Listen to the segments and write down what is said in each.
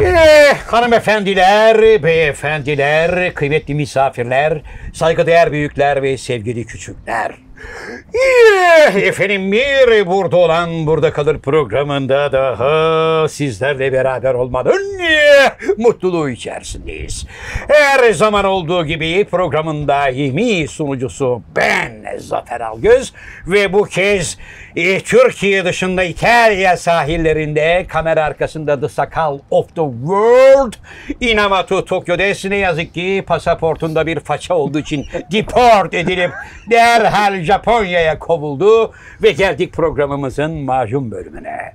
Ve Eh, hanımefendiler, beyefendiler, kıymetli misafirler, saygıdeğer büyükler ve sevgili küçükler. Eh, Efendim bir burada olan burada kalır programında daha sizlerle beraber olmanın eh, mutluluğu içerisindeyiz. Her zaman olduğu gibi programın daimi sunucusu ben Zafer Algöz ve bu kez eh, Türkiye dışında İtalya sahillerinde kamera arkasında The Sakal of the World Inamatu Tokyo'desine yazık ki pasaportunda bir faça olduğu için deport edilip derhal Japonya'ya kovuldu ve geldik programımızın macun bölümüne.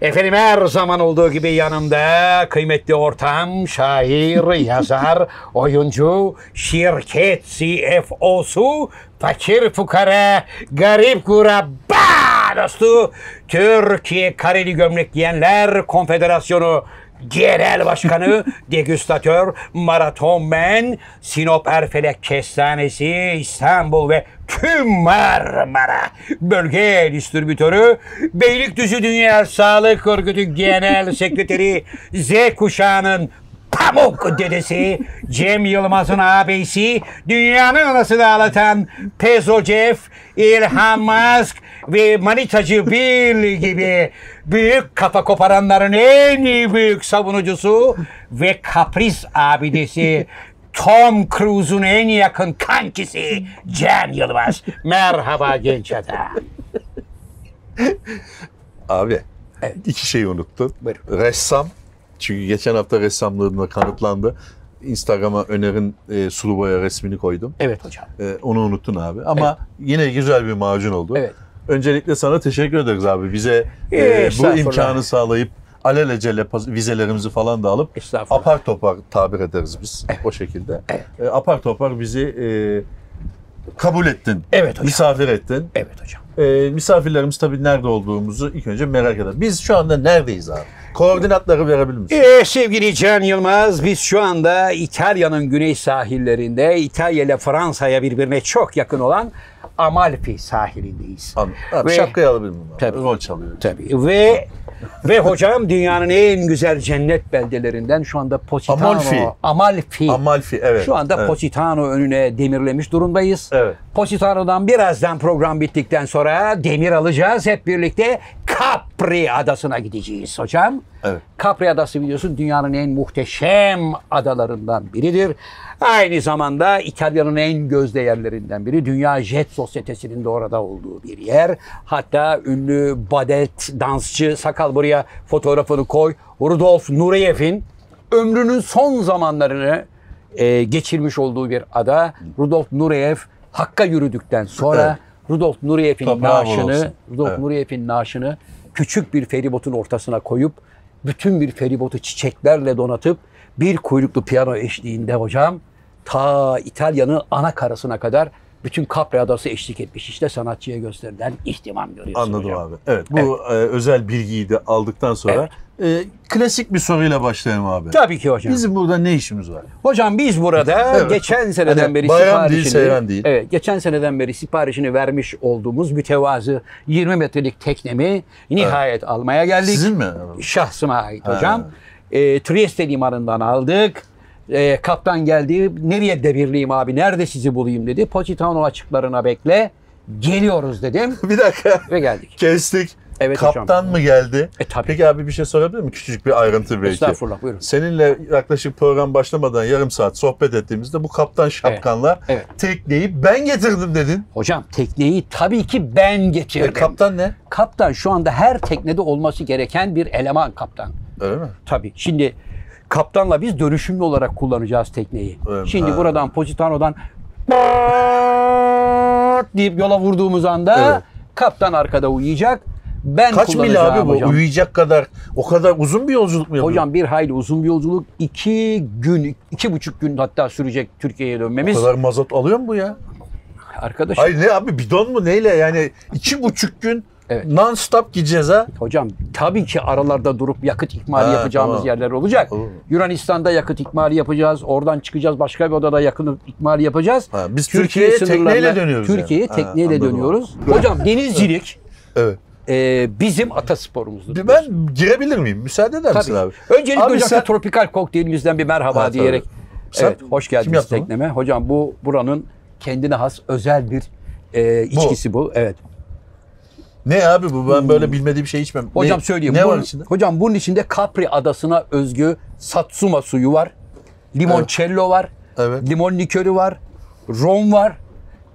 Efendim her zaman olduğu gibi yanımda kıymetli ortağım, şair, yazar, oyuncu, şirket CFO'su, fakir fukara, garip kurabba dostu, Türkiye Kareli Gömlek Giyenler Konfederasyonu Genel Başkanı, Degüstatör, Maratonmen, Sinop Erfelek Kestanesi, İstanbul ve tüm Marmara Bölge Distribütörü, Beylikdüzü Dünya Sağlık Örgütü Genel Sekreteri, Z kuşağının Pamuk dedesi, Cem Yılmaz'ın abisi, dünyanın anasını ağlatan Pezocef, İlhan Musk ve Manitacı Bill gibi büyük kafa koparanların en iyi büyük savunucusu ve kapris abidesi Tom Cruise'un en yakın kankisi Cem Yılmaz. Merhaba genç adam. Abi iki şeyi unuttun. Buyurun. Ressam. Çünkü geçen hafta ressamlığımla kanıtlandı. Instagram'a Öner'in e, sulu boya resmini koydum. Evet hocam. E, onu unuttun abi. Ama yine güzel bir macun oldu. Evet. Ee, Öncelikle sana teşekkür ederiz abi. Bize e, bu estağfurullah. imkanı sağlayıp alelacele pas- vizelerimizi falan da alıp Estağfurullah. apar topar tabir ederiz biz o şekilde. E, apar topar bizi e, kabul ettin. Evet hocam. Misafir ettin. Evet hocam. Ee, misafirlerimiz tabii nerede olduğumuzu ilk önce merak eder. Biz şu anda neredeyiz abi? Koordinatları verebilir misin? Ee, sevgili Can Yılmaz, biz şu anda İtalya'nın güney sahillerinde, İtalya ile Fransa'ya birbirine çok yakın olan Amalfi sahilindeyiz. Abi, abi Ve- şapkayı alabilir miyim? abi? Tabii. Rol çalıyor. Tabii. Ve ve hocam dünyanın en güzel cennet beldelerinden şu anda Positano, Amalfi. Amalfi. Amalfi evet. Şu anda evet. Positano önüne demirlemiş durumdayız. Evet. Positano'dan birazdan program bittikten sonra demir alacağız. Hep birlikte Capri Adası'na gideceğiz hocam. Evet. Capri Adası biliyorsun dünyanın en muhteşem adalarından biridir. Aynı zamanda İtalya'nın en gözde yerlerinden biri. Dünya Jet Sosyetesi'nin de orada olduğu bir yer. Hatta ünlü badet dansçı sakal buraya fotoğrafını koy. Rudolf Nureyev'in ömrünün son zamanlarını e, geçirmiş olduğu bir ada. Rudolf Nureyev Hakk'a yürüdükten sonra Rudolf Nureyev'in Toprağı bol naaşını olsun. Rudolf Evet. Nureyev'in naaşını küçük bir feribotun ortasına koyup bütün bir feribotu çiçeklerle donatıp bir kuyruklu piyano eşliğinde hocam ta İtalya'nın ana karasına kadar bütün Capri Adası eşlik etmiş. İşte sanatçıya gösterilen ihtimam görüyorsun Anladım hocam. abi. Evet bu e, özel bilgiyi de aldıktan sonra e, klasik bir soruyla başlayalım abi. Tabii ki hocam. Bizim burada ne işimiz var? Hocam biz burada Evet. geçen seneden Hani beri bayram siparişini değil, seyran değil. Evet, geçen seneden beri siparişini vermiş olduğumuz mütevazı 20 metrelik teknemi nihayet almaya geldik. Sizin mi? Şahsıma ait hocam. Ee, Trieste limanından aldık. Ee, kaptan geldi. Nereye devirleyim abi? Nerede sizi bulayım dedi. Positano açıklarına bekle. Geliyoruz dedim Bir dakika. ve geldik. Kestik. Evet hocam. Kaptan mı geldi? E, tabii. Peki abi bir şey sorabilir miyim? Küçücük bir ayrıntı belki. Estağfurullah buyurun. Seninle yaklaşık program başlamadan yarım saat sohbet ettiğimizde bu kaptan şapkanla Evet, tekneyi ben getirdim dedin. Hocam tekneyi tabii ki ben E, getirdim. kaptan ne? Kaptan şu anda her teknede olması gereken bir eleman kaptan. Öyle mi? Tabii. Şimdi kaptanla biz dönüşümlü olarak kullanacağız tekneyi. Evet, Şimdi ha. buradan Positano'dan deyip yola vurduğumuz anda Evet. kaptan arkada uyuyacak. Ben Kaç mil kullanacağım abi bu? hocam. Uyuyacak kadar o kadar uzun bir yolculuk mu yapıyor? Hocam bir hayli uzun bir yolculuk. iki gün, iki buçuk gün hatta sürecek Türkiye'ye o dönmemiz. kadar mazot alıyor mu bu ya? Arkadaşım Hayır ne abi bidon mu neyle yani iki buçuk gün Evet. non stop gideceğiz ha. Hocam tabii ki aralarda durup yakıt ikmali Ha, yapacağımız tamam. yerler olacak. Olur. Yunanistan'da yakıt ikmali yapacağız. Oradan çıkacağız başka bir odada yakın ikmali yapacağız. Ha, biz Türkiye'ye tekneyle sınırlarına- dönüyoruz yani. Türkiye'ye Ha, tekneyle anladım. dönüyoruz. Hocam denizcilik Evet. e, bizim atasporumuzdur. Ben girebilir miyim? Müsaade eder misin Tabii. abi? Öncelikle Abi hocam sen- tropikal kokteylimizden bir merhaba Ha, tabii. diyerek. Sen- evet, hoş kim geldiniz yaptı bunu? tekneme. Hocam bu buranın kendine has özel bir e, içkisi bu. Evet. Ne abi bu? Ben böyle bilmediğim şey içmem. Hocam ne, söyleyeyim. Ne bunun- var içinde? Hocam bunun içinde Capri adasına özgü satsuma suyu var. Limoncello var. Evet. Limon likörü var. Rom var.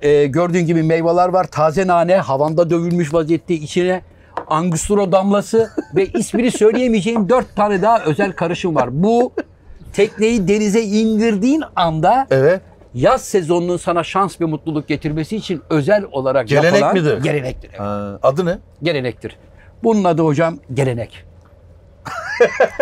Ee, gördüğün gibi meyveler var. Taze nane havanda dövülmüş vaziyette içine angostura damlası ve ismini söyleyemeyeceğim dört tane daha özel karışım var. Bu tekneyi denize indirdiğin anda Evet. yaz sezonunun sana şans ve mutluluk getirmesi için özel olarak Gelenek yapılan midir? gelenektir. evet. Ha, adı ne? Gelenektir. Bunun adı hocam gelenek.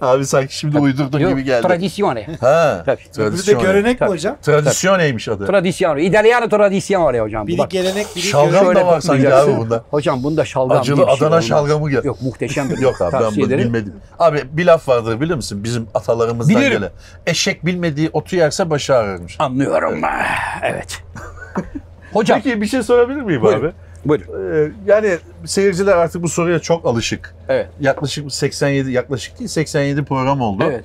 Abi sanki şimdi uydurdun Yok, gibi geldi. Tradizione. ha. Tabii. Bir de Tradisyone. görenek mi Tabii. hocam? Tradisyone'ymiş adı. Tradizione. İtalyano tradizione ya hocam. bu, Biri bak. gelenek, biri Şalgam görenek. da var sanki Yapacaksın. abi bunda. Hocam bunda şalgam Acılı diye bir şey Adana olmaz. şalgamı gel- Yok muhteşemdir. Yok abi ben Tavsiye bunu ederim. bilmedim. Abi bir laf vardır bilir misin? Bizim atalarımızdan Bilirim. gelen. Eşek bilmediği otu yerse başı ağrırmış. Anlıyorum. Evet. hocam. Peki bir şey sorabilir miyim Buyurun. abi? Buyurun. Ee, yani seyirciler artık bu soruya çok alışık. Evet. Yaklaşık 87 yaklaşık değil 87 program oldu. Evet.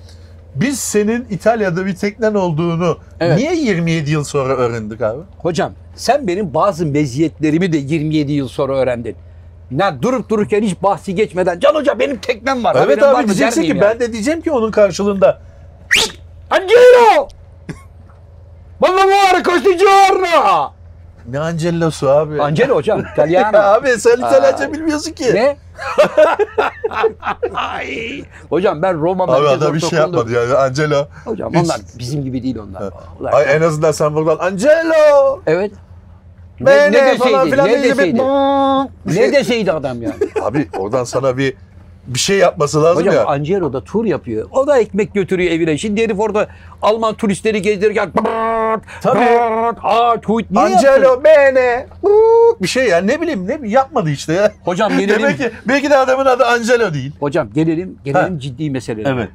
Biz senin İtalya'da bir teknen olduğunu Evet. niye 27 yıl sonra öğrendik abi? Hocam sen benim bazı meziyetlerimi de 27 yıl sonra öğrendin. Ne durup dururken hiç bahsi geçmeden Can Hoca benim teknem var. haberin evet var mı?" der abi diyeceksin ki miyim yani? ben de diyeceğim ki onun karşılığında Angelo! Mamma muore questo giorno! ne Angelo'su abi. Angelo hocam, İtalyano. Ya abi sen İtalyanca Aa. bilmiyorsun ki. Ne? Ay. hocam ben Roma Abi merkez adam bir şey ortaokulundayım. yapmadı yani Angelo. Hocam Hiç- onlar bizim gibi değil onlar. Onlar- Ay, e- en azından sen buradan Angelo. Evet. Bene falan deseydi, filan ne deyince bir- şey- deseydi, ne deseydi adam yani. Abi oradan sana bir bir şey yapması lazım Hocam ya. Angelo da tur yapıyor. O da ekmek götürüyor evine. Şimdi herif orada Alman turistleri gezdirirken Tabii. Aa, tuhut niye yaptın? Angelo bene. Uuu, Bir şey ya ne bileyim ne yapmadı işte ya. Hocam gelelim. Demek ki belki de adamın adı Angelo değil. Hocam gelelim, gelelim ciddi meselelere.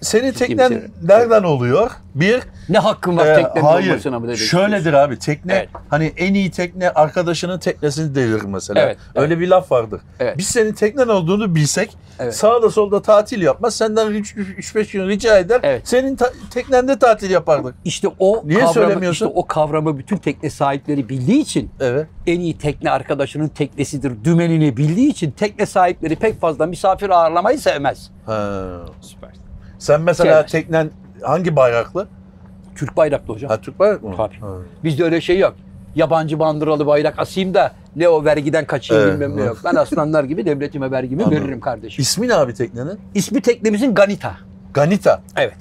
Senin bir teknen şey. nereden oluyor? Bir, Ne hakkın var e, teknenin hayır. olmasına mı demek Şöyledir abi tekne. Evet. Hani en iyi tekne arkadaşının teknesini devirir mesela. Evet, Öyle bir laf vardır. Evet. Biz senin teknen olduğunu bilsek Evet. sağda solda tatil yapmaz. Senden 3-5 gün rica eder. Evet. Senin ta- teknende tatil yapardık. İşte o Niye kavramı, söylemiyorsun? işte o kavramı bütün tekne sahipleri bildiği için Evet. en iyi tekne arkadaşının teknesidir dümenini bildiği için tekne sahipleri pek fazla misafir ağırlamayı sevmez. Ha. Süper. Sen mesela Sevmez. teknen hangi bayraklı? Türk bayraklı hocam. Ha Türk bayrak mı? Tabii. Ha. Bizde öyle şey yok. Yabancı bandıralı bayrak asayım da ne o vergiden kaçayım Evet. bilmem ne yok. Ben aslanlar gibi devletime vergimi Anladım. veririm kardeşim. İsmi ne abi teknenin? İsmi teknemizin Ganita. Ganita. Evet.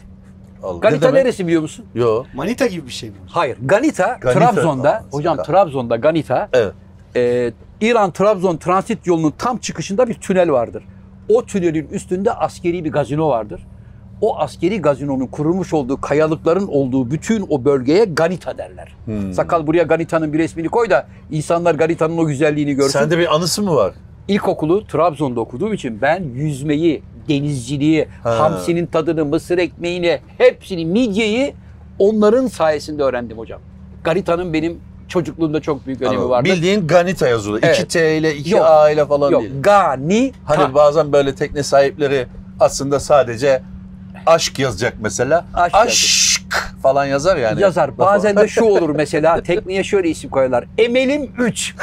Allah. Ganita ne demek? neresi biliyor musun? Yo. Manita gibi bir şey mi? Hayır. Ganita, Ganita. Trabzon'da. Aa, hocam Ganita. Trabzon'da Ganita. Evet. e, İran Trabzon transit yolunun tam çıkışında bir tünel vardır. O tünelin üstünde askeri bir gazino vardır. O askeri gazinonun kurulmuş olduğu kayalıkların olduğu bütün o bölgeye Ganita derler. Hmm. Sakal buraya Ganita'nın bir resmini koy da insanlar Ganita'nın o güzelliğini görsün. Sende bir anısı mı var? İlkokulu Trabzon'da okuduğum için ben yüzmeyi, denizciliği, Ha. hamsinin tadını, mısır ekmeğini, hepsini, midyeyi onların sayesinde öğrendim hocam. Ganita'nın benim çocukluğumda çok büyük önemi Anladım. vardı. Bildiğin Ganita yazılı. Evet. 2 T ile 2 Yok. A ile falan Yok, değil. gani Hani bazen böyle tekne sahipleri aslında sadece aşk yazacak mesela. Aşk Aşk, falan yazar yani. yazar. Lafı- Bazen de şu olur mesela tekneye şöyle isim koyarlar. Emelim 3.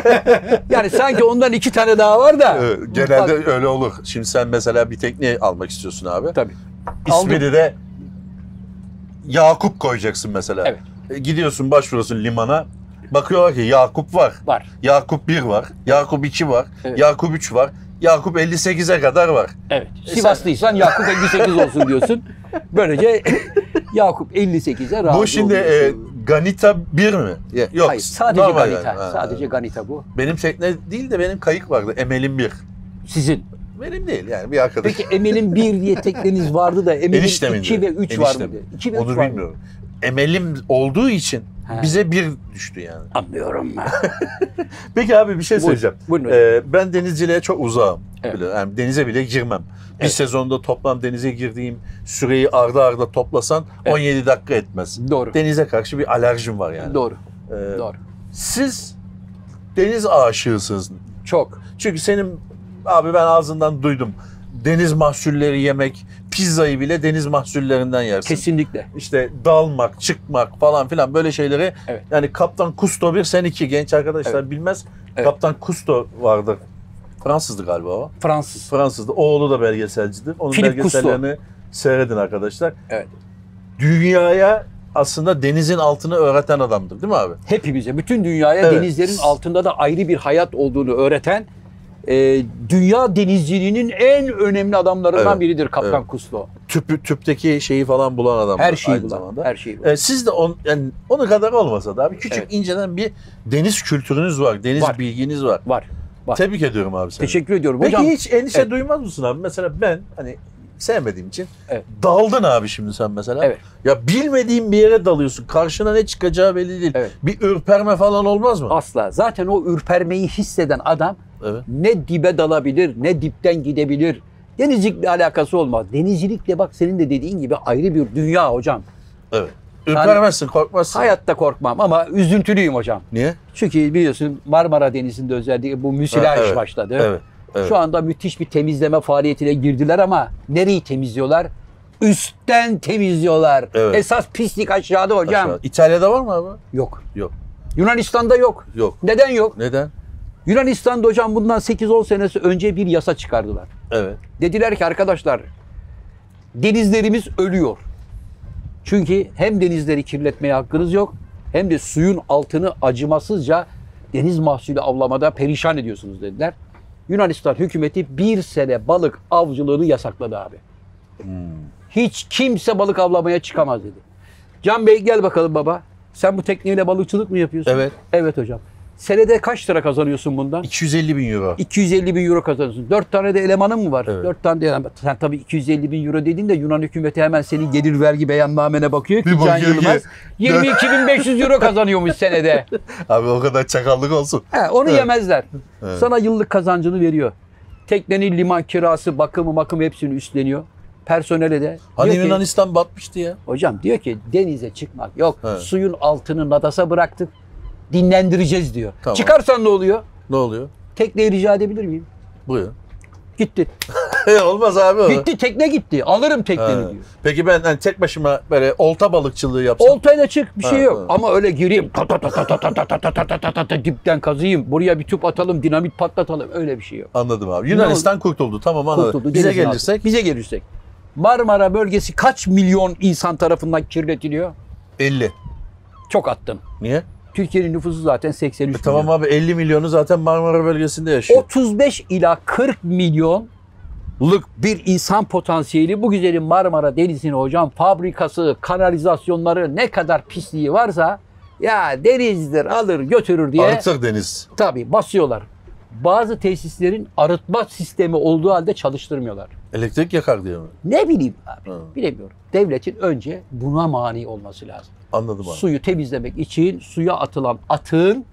yani sanki ondan iki tane daha var da. Evet, Ee, genelde öyle olur. Şimdi sen mesela bir tekne almak istiyorsun abi. Tabii. Aldım. İsmini de Yakup koyacaksın mesela. Evet. E, Gidiyorsun başvuruyorsun limana. Bakıyorlar ki Yakup var. Var. Yakup 1 var. Yakup 2 var. Evet. Yakup 3 var. Yakup 58'e kadar var. Evet. Sivaslıysan Yakup 58 olsun diyorsun. Böylece Yakup 58'e razı Bu şimdi e, oluyorsun. Ganita 1 mi? Ya- Yok. Hayır, sadece normal Ganita. yani. Ha, sadece evet. Ganita bu. Benim tekne değil de benim kayık vardı. Emel'in 1. Sizin. Benim değil yani bir arkadaş. Peki Emel'in 1 diye tekneniz vardı da Emel'in Eniştemin 2 ve diyor. 3 var Eniştemin. mıydı? 2 ve 3 Onu var mıydı? bilmiyorum. Emel'im olduğu için He. bize 1 düştü yani. Anlıyorum. Peki abi bir şey Buyurun, söyleyeceğim. buyurun hocam. Ee, ben denizciliğe çok uzağım. Evet. Bile- yani denize bile girmem. Bir Evet. sezonda toplam denize girdiğim süreyi arda arda toplasan 17 dakika etmez. Doğru. Denize karşı bir alerjim var yani. Doğru. Ee, Doğru. Siz deniz aşığısınız. Çok. Çünkü senin abi ben ağzından duydum. Deniz mahsulleri yemek, pizzayı bile deniz mahsullerinden yersin. Kesinlikle. İşte dalmak, çıkmak falan filan böyle şeyleri. Evet. Yani Kaptan Kusto bir, sen iki. Genç arkadaşlar bilmez. Evet. Kaptan Kusto vardır. Fransızdı galiba o. Fransız. Fransızdı. Oğlu da belgeselcidir. Onun Philip Cousteau. belgesellerini seyredin arkadaşlar. Evet. Dünyaya aslında denizin altını öğreten adamdır değil mi abi? Hepimize, bütün dünyaya Evet. denizlerin altında da ayrı bir hayat olduğunu öğreten e, dünya denizciliğinin en önemli adamlarından Evet. biridir Kaptan Evet. Cousteau. Tüpü, tüpteki şeyi falan bulan adamdır Her şeyi aynı bulan, zamanda. her şeyi bulan. Ee, siz de on, yani onun kadar olmasa da abi küçük Evet. inceden bir deniz kültürünüz var, deniz Var. bilginiz var. Var. Var. Tebrik ediyorum abi seni. Teşekkür ediyorum. Peki Hocam hiç endişe Evet. duymaz mısın abi? Mesela ben hani sevmediğim için Evet. daldın abi şimdi sen mesela. Evet. Ya bilmediğin bir yere dalıyorsun. Karşına ne çıkacağı belli değil. Evet. Bir ürperme falan olmaz mı? asla. Zaten o ürpermeyi hisseden adam Evet. ne dibe dalabilir, ne dipten gidebilir. Denizcilikle alakası olmaz. Denizcilikle bak senin de dediğin gibi ayrı bir dünya hocam. Evet. Ürpermezsin, korkmazsın. Hayatta korkmam ama üzüntülüyüm hocam. Niye? Çünkü biliyorsun Marmara Denizi'nde özellikle bu müsilaj Ha, evet. başladı. Evet. evet. Şu anda müthiş bir temizleme faaliyetine girdiler ama nereyi temizliyorlar? Üstten temizliyorlar. Evet. Esas pislik aşağıda hocam. Aşağı. İtalya'da var mı abi? Yok. Yok. Yunanistan'da yok. Yok. Neden yok? Neden? Yunanistan'da hocam bundan 8-10 senesi önce bir yasa çıkardılar. Evet. Dediler ki arkadaşlar denizlerimiz ölüyor. Çünkü hem denizleri kirletmeye hakkınız yok hem de suyun altını acımasızca deniz mahsulü avlamada perişan ediyorsunuz dediler. Yunanistan hükümeti bir sene balık avcılığını yasakladı abi. Hiç kimse balık avlamaya çıkamaz dedi. Can Bey gel bakalım baba. Sen bu tekneyle balıkçılık mı yapıyorsun? Evet. Evet hocam. Senede kaç lira kazanıyorsun bundan? 250 bin euro. 250 bin euro kazanıyorsun. Dört tane de elemanın mı var? Evet. Dört tane de eleman. Sen tabii 250 bin euro dediğinde Yunan hükümeti hemen senin gelir vergi beyannamene bakıyor ki Bir Can bakıyor ki- Yılmaz 22.500 euro kazanıyormuş senede. Abi o kadar çakallık olsun. He, onu Evet. yemezler. Evet. Sana yıllık kazancını veriyor. Teknenin liman kirası, bakımı, makımı hepsini üstleniyor. Personele de. Hani diyor ki- Yunanistan batmıştı ya. Hocam diyor ki denize çıkmak yok. Evet. Suyun altını nadasa bıraktık. Dinlendireceğiz diyor. Tamam. Çıkarsan ne oluyor? Ne oluyor? Tekneyi rica edebilir miyim? Buyur. Gitti. Olmaz abi o. Gitti tekne gitti. Alırım tekneni Ha. diyor. Peki ben hani tek başıma böyle olta balıkçılığı yapsam. Oltayla çık bir şey Ha, yok. ha. Ama öyle gireyim ta ta ta ta ta ta ta ta ta ta ta ta ta ta dipten kazıyım. Buraya bir tüp atalım, dinamit patlatalım. Öyle bir şey yok. Anladım abi. Yunanistan kurtuldu. Tamam anladım. Kurtuldu, Bize denizin altı. gelirsek bize gelirsek. Marmara bölgesi kaç milyon insan tarafından kirletiliyor? 50. Çok attın. Niye? Türkiye'nin nüfusu zaten 83 E tamam milyon. abi 50 milyonu zaten Marmara bölgesinde yaşıyor. 35 ila 40 milyonluk bir insan potansiyeli bu güzelim Marmara Denizi'nin hocam fabrikası, kanalizasyonları ne kadar pisliği varsa ya denizdir alır götürür diye Artık deniz. Tabii basıyorlar. Bazı tesislerin arıtma sistemi olduğu halde çalıştırmıyorlar. Elektrik yakar diye mi? Ne bileyim abi. Hı. Bilemiyorum. Devletin önce buna mani olması lazım. Anladım abi. Suyu temizlemek için suya atılan atığın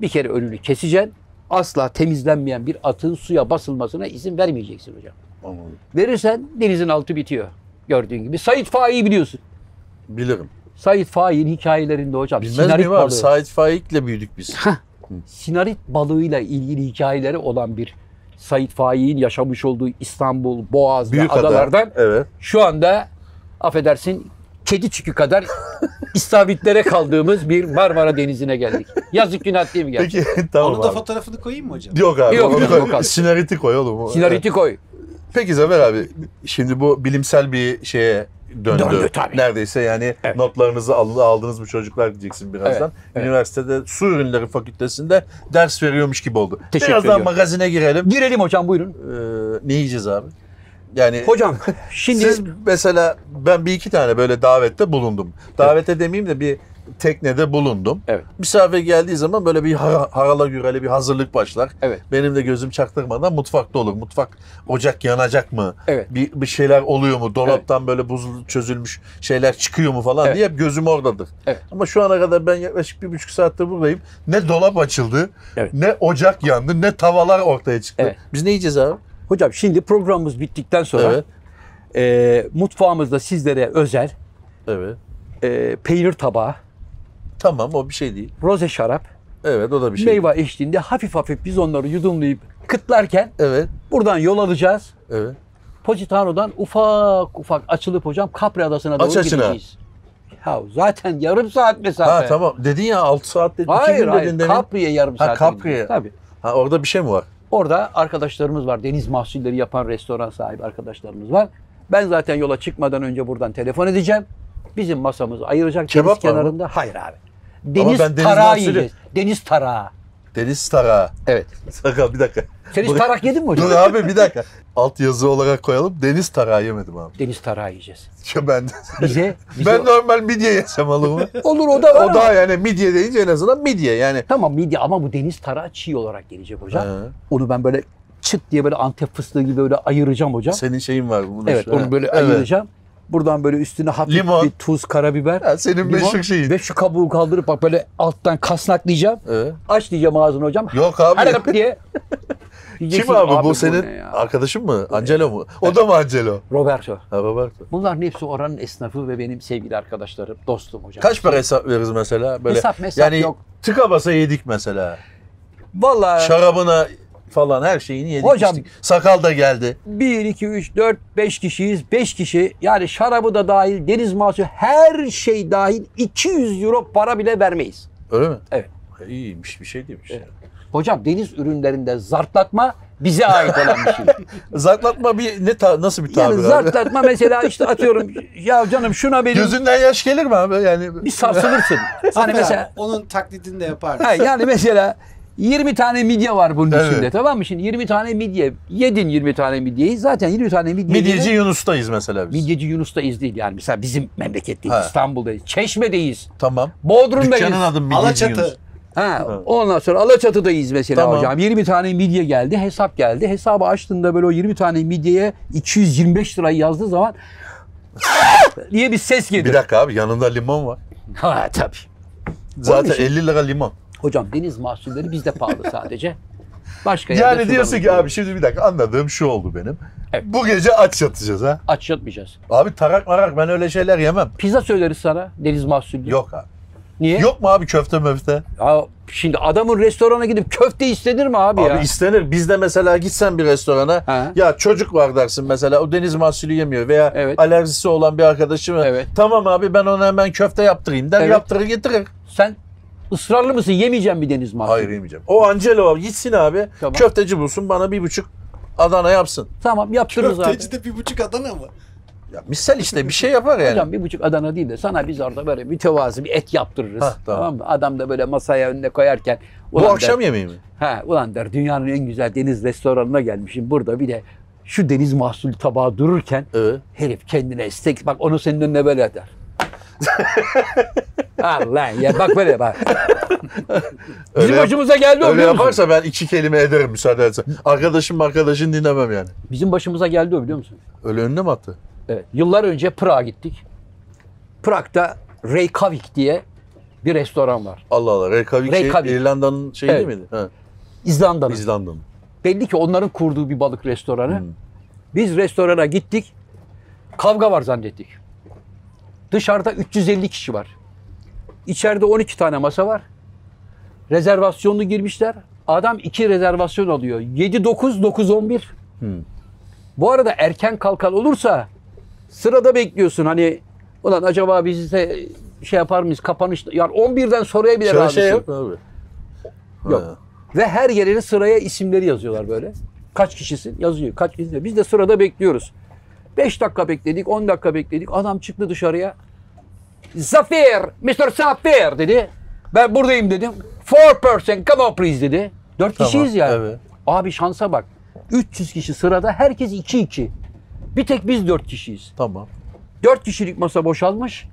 bir kere önünü keseceksin. Asla temizlenmeyen bir atığın suya basılmasına izin vermeyeceksin hocam. Anladım. Verirsen denizin altı bitiyor. Gördüğün gibi. Said Faik'i biliyorsun. Bilirim. Said Faik'in hikayelerinde hocam. Bilmez sinarit miyim abi? balığı. Sait Faik'le büyüdük biz. sinarit balığıyla ilgili hikayeleri olan bir Said Faik'in yaşamış olduğu İstanbul, Boğaz ve Büyük adalardan Evet. şu anda affedersin kedi çükü kadar istavitlere kaldığımız bir Marmara Denizi'ne geldik. Yazık günah değil mi geldik? Peki tamam Onu da abi. fotoğrafını koyayım mı hocam? Yok abi. Yok, onu yok, koy. yok abi. Sinariti koy oğlum. Sinariti koy. Peki Zafer abi şimdi bu bilimsel bir şeye döndü. Döndü tabii. Neredeyse yani notlarınızı aldı, aldınız mı çocuklar diyeceksin birazdan. Üniversitede su ürünleri fakültesinde ders veriyormuş gibi oldu. Teşekkür birazdan ediyorum. magazine girelim. Girelim hocam buyurun. Ee, ne yiyeceğiz abi? Yani Hocam şimdi Ee, siz mesela ben bir iki tane böyle davette bulundum. Davete demeyeyim de bir teknede bulundum. Evet. Misafir geldiği zaman böyle bir har- harala gürele bir hazırlık başlar. Evet. Benim de gözüm çaktırmadan mutfakta olur. Mutfak ocak yanacak mı? Evet. Bir, bir şeyler oluyor mu? Dolaptan böyle buz çözülmüş şeyler çıkıyor mu falan Evet. diye hep gözüm oradadır. Evet. Ama şu ana kadar ben yaklaşık bir buçuk saattir buradayım. Ne dolap açıldı, Evet. ne ocak yandı, ne tavalar ortaya çıktı. Evet. Biz ne yiyeceğiz abi? hocam şimdi programımız bittikten sonra Evet. e, mutfağımızda sizlere özel Evet. e, peynir tabağı, Tamam o bir şey değil. roze şarap, Evet o da bir şey. Meyve eşliğinde hafif hafif biz onları yudumlayıp kıtlarken Evet. buradan yol alacağız. Evet. Positano'dan ufak ufak açılıp hocam Capri Adası'na doğru Aç açına. gideceğiz. Ya zaten yarım saat mesafe. Ha tamam. Dedin ya 6 saat dedin. iki Hayır gün hayır dedin demin. Capri'ye yarım Ha, saat. Capri'ye. gideceğiz. Tabii. Ha, orada bir şey mi var? Orada arkadaşlarımız var. Deniz mahsulleri yapan restoran sahibi arkadaşlarımız var. Ben zaten yola çıkmadan önce buradan telefon edeceğim. Bizim masamızı ayıracak Kebap deniz var mı? kenarında. Hayır abi. Deniz ben deniz tarağı mahsulü- yiyeceğiz. Deniz tarağı. Deniz tarağı. Evet. Sakal bir dakika. Sen hiç Bu- tarak yedin mi hocam? Dur abi bir dakika. Alt yazı olarak koyalım. Deniz tarağı yemedim abi. Deniz tarağı yiyeceğiz. Şu ben Bize, bize ben normal midye yesem olur mu? olur o da var o ama- da yani midye deyince en azından midye yani. Tamam midye ama bu deniz tarağı çiğ olarak gelecek hocam. He. Onu ben böyle çıt diye böyle Antep fıstığı gibi böyle ayıracağım hocam. Senin şeyin var. Bunun evet onu böyle şey- ayıracağım. Buradan böyle üstüne hafif Limon. bir tuz, karabiber. Ha, senin limon meşhur şeyin. Ve şu kabuğu kaldırıp bak böyle alttan kasnaklayacağım. Evet. Aç diyeceğim ağzını hocam. Yok abi. Hadi kap diye. Kim Diyeceksin, abi, bu, ne senin ya? arkadaşın mı? Angelo mu? O da mı Angelo? Roberto. Ha Roberto. Bunların hepsi oranın esnafı ve benim sevgili arkadaşlarım, dostum hocam. Kaç para hesap veririz mesela? Böyle, Hesap mesap yani yok. tıka basa yedik mesela. Vallahi Şarabına falan her şeyini yedik. Hocam- içtik. Sakal da geldi. 1, 2, 3, 4, 5 kişiyiz. 5 kişi yani şarabı da dahil, deniz mahsulü her şey dahil 200 euro para bile vermeyiz. Öyle mi? Evet. Ha, İyiymiş bir şey değilmiş. yani. Hocam deniz ürünlerinde zartlatma bize ait olan bir şey. Zartlatma bir ne ta- nasıl bir yani tabir abi? zartlatma mesela işte atıyorum ya canım şuna benim Gözünden yaş gelir mi abi? Yani bir sarsılırsın. hani Zafer mesela abi, onun taklidini de yapar. Ha, yani mesela 20 tane midye var bunun Evet. içinde tamam mı? Şimdi 20 tane midye yedin 20 tane midyeyi zaten 20 tane midye Midyeci Yunus'tayız mesela biz. Midyeci Yunus'tayız değil yani mesela bizim memleketteyiz Ha. İstanbul'dayız Çeşme'deyiz Tamam. Bodrum'dayız. Dükkanın adı Midyeci Yunus. Alaçatı. Ha, ondan sonra Alaçatı'dayız mesela Tamam. hocam. 20 tane midye geldi, hesap geldi. Hesabı açtığında böyle o 20 tane midyeye 225 lirayı yazdığı zaman diye bir ses Bir gelir. dakika abi yanında limon var. şey? Ha tabii. Zaten için- 50 lira limon. Hocam deniz mahsulleri bizde pahalı sadece. Başka yerde Yani şuradan diyorsun ki ucuz. abi şimdi bir dakika anladığım şu oldu benim. Evet. Bu gece aç yatacağız ha. aç yatmayacağız. Abi tarak marak ben öyle şeyler yemem. Pizza söyleriz sana deniz mahsulü. Yok abi. Niye? Yok mu abi köfte möfte? Ya şimdi adamın restorana gidip köfte istenir mi abi, Abi ya? istenir. Bizde mesela gitsen bir restorana Ha. ya çocuk var dersin mesela o deniz mahsulü yemiyor veya Evet. alerjisi olan bir arkadaşımı Evet. tamam abi ben ona hemen köfte yaptırayım der Evet. yaptırır getirir. Sen ısrarlı mısın? Yemeyeceğim bir deniz mahsulü. Hayır yemeyeceğim. O Angelo abi gitsin abi Tamam. köfteci bulsun bana bir buçuk Adana yapsın. Tamam yaptırırız abi. Köfteci de bir buçuk Adana mı? Ya misal işte bir şey yapar yani. Hocam bir buçuk Adana değil de sana biz orada böyle mütevazı bir et yaptırırız. Hah, tamam. tamam. mı? Adam da böyle masaya önüne koyarken. Bu "Ulan akşam der, yemeği mi? Ha, ulan der dünyanın en güzel deniz restoranına gelmişim. Burada bir de şu deniz mahsul tabağı dururken Evet. herif kendine istek. Bak onu senin önüne böyle eder. Allah ya bak böyle bak. Bizim Öyle yap- başımıza geldi o Öyle biliyor musun? yaparsa ben iki kelime ederim müsaade etse. Arkadaşım arkadaşın dinlemem yani. Bizim başımıza geldi o biliyor musun? Öyle önüne mi attı? Evet. Yıllar önce Prag'a gittik. Prag'da Reykjavik diye bir restoran var. Allah Allah. Reykjavik, şey, Reykjavik. İrlanda'nın şeyi Evet. değil miydi? Ha, İzlanda'nın. İzlanda'nın. Belli ki onların kurduğu bir balık restoranı. Hmm. Biz restorana gittik. Kavga var zannettik. Dışarıda 350 kişi var. İçeride 12 tane masa var. Rezervasyonlu girmişler. Adam iki rezervasyon alıyor. 7 9 9 11. Hmm. Bu arada erken kalkan olursa sırada bekliyorsun. Hani ulan acaba biz de şey yapar mıyız? Kapanış yani 11'den sonraya bile Şöyle razısın. şey yok mu abi? Yok. Ha. Ve her yerine sıraya isimleri yazıyorlar böyle. Kaç kişisin yazıyor. Kaç kişisin. Biz de sırada bekliyoruz. 5 dakika bekledik, 10 dakika bekledik. Adam çıktı dışarıya. Zafer, Mr. Zafer dedi. Ben buradayım dedim. Four person, come on please dedi. Dört Tamam, kişiyiz yani. evet. Abi şansa bak. 300 kişi sırada, herkes 2-2. Bir tek biz dört kişiyiz. Tamam. Dört kişilik masa boşalmış.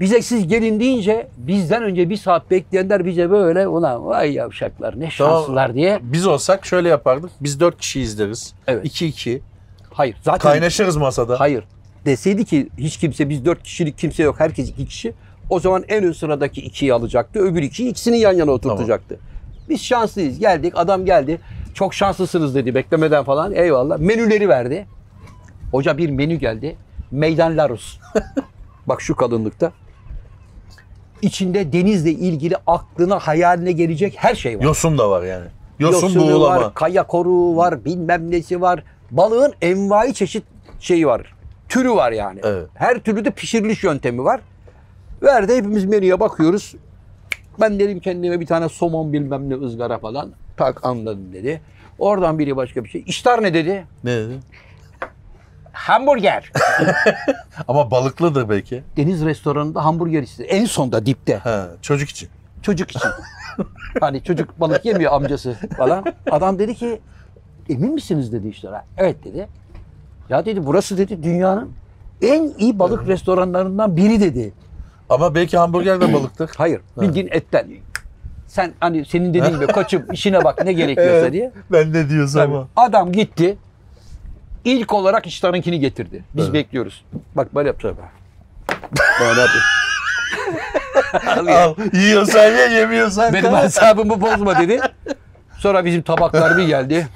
Bize siz gelin deyince bizden önce bir saat bekleyenler bize böyle ulan vay yavşaklar ne Tamam. şanslılar diye. Biz olsak şöyle yapardık. Biz dört kişi izleriz. Evet. İki iki. Hayır zaten Kaynaşırız masada. hayır deseydi ki hiç kimse biz dört kişilik kimse yok herkes iki kişi o zaman en ön sıradaki ikiyi alacaktı öbür ikiyi ikisini yan yana oturtacaktı. Biz şanslıyız geldik adam geldi çok şanslısınız dedi beklemeden falan eyvallah menüleri verdi. Hoca bir menü geldi meydan larus bak şu kalınlıkta İçinde denizle ilgili aklına, hayaline gelecek her şey var. Yosun da var yani. Yosun, Yosunu buğulama. var, kaya koruğu var, bilmem nesi var. Balığın envai çeşit şeyi var. Türü var yani. Evet. Her türlü de pişiriliş yöntemi var. Verdi hepimiz menüye bakıyoruz. Ben dedim kendime bir tane somon bilmem ne ızgara falan. Tak anladım dedi. Oradan biri başka bir şey. İştar ne dedi? Ne dedi? Hamburger. Ama balıklıdır belki. Deniz restoranında hamburger istedi. En sonda dipte. Ha, çocuk için. Çocuk için. hani çocuk balık yemiyor amcası falan. Adam dedi ki emin misiniz dedi işte. Evet dedi. Ya dedi burası dedi dünyanın en iyi balık restoranlarından biri dedi. Ama belki hamburger de balıktır. Hayır bildiğin etten. Sen hani senin dediğin gibi koçum işine bak ne gerekiyorsa Evet. diye. ben ne diyorsam ama. Adam gitti. İlk olarak iştahınkini getirdi. Biz Evet. bekliyoruz. Bak böyle yaptı. Böyle yaptı. Alıyor. Al, yiyorsan ye, yemiyorsan Benim kal. hesabımı bozma dedi. Sonra bizim tabaklar bir geldi.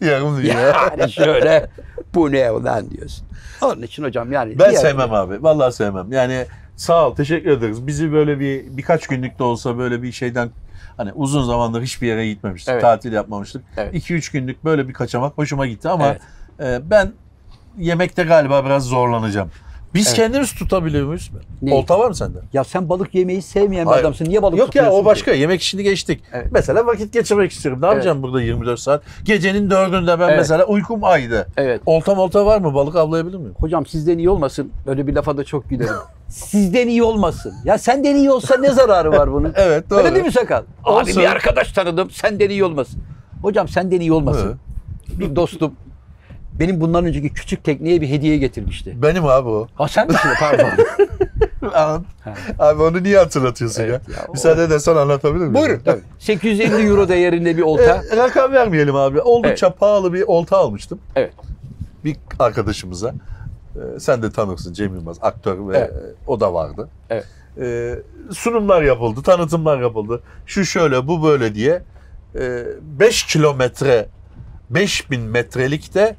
Yarım diyor. Yani şöyle bu ne ulan diyorsun. Onun için hocam yani. Ben diğer- sevmem abi. Vallahi sevmem. Yani sağ ol, teşekkür ederiz. Bizi böyle bir birkaç günlük de olsa böyle bir şeyden hani uzun zamandır hiçbir yere gitmemiştik. Evet. Tatil yapmamıştık. Evet. 2-3 günlük böyle bir kaçamak hoşuma gitti ama e, ben yemekte galiba biraz zorlanacağım. Biz Evet. kendimiz tutabiliyor muyuz? Neyi? Olta var mı sende? Ya sen balık yemeyi sevmeyen bir Hayır. adamsın. Niye balık Yok ya tutuyorsun o ki? başka. Yemek işini geçtik. Evet. Mesela vakit geçirmek istiyorum. Ne yapacağım burada 24 saat? Gecenin dördünde ben Evet. mesela uykum aydı. Evet. Olta molta var mı? Balık avlayabilir miyim? Hocam sizden iyi olmasın. Böyle bir lafa da çok gülerim. sizden iyi olmasın. Ya senden iyi olsa ne zararı var bunun? Evet doğru. Öyle değil mi Sakal? Abi Olsun. bir arkadaş tanıdım. Senden iyi olmasın. Hocam senden iyi olmasın. Bir dostum benim bundan önceki küçük tekneye bir hediye getirmişti. Benim abi o. Ha sen misin? Pardon. Abi, abi onu niye hatırlatıyorsun ya? ya, o- Müsaade edersen anlatabilir miyim? Buyurun. Tabii. 850 euro değerinde bir olta. E, rakam vermeyelim abi. Oldukça pahalı bir olta almıştım. Evet. Bir arkadaşımıza. E, sen de tanırsın Cem Yılmaz. Aktör ve Evet. e, o da vardı. Evet. E, sunumlar yapıldı, tanıtımlar yapıldı. Şu şöyle, bu böyle diye. 5 kilometre, 5000 metrelikte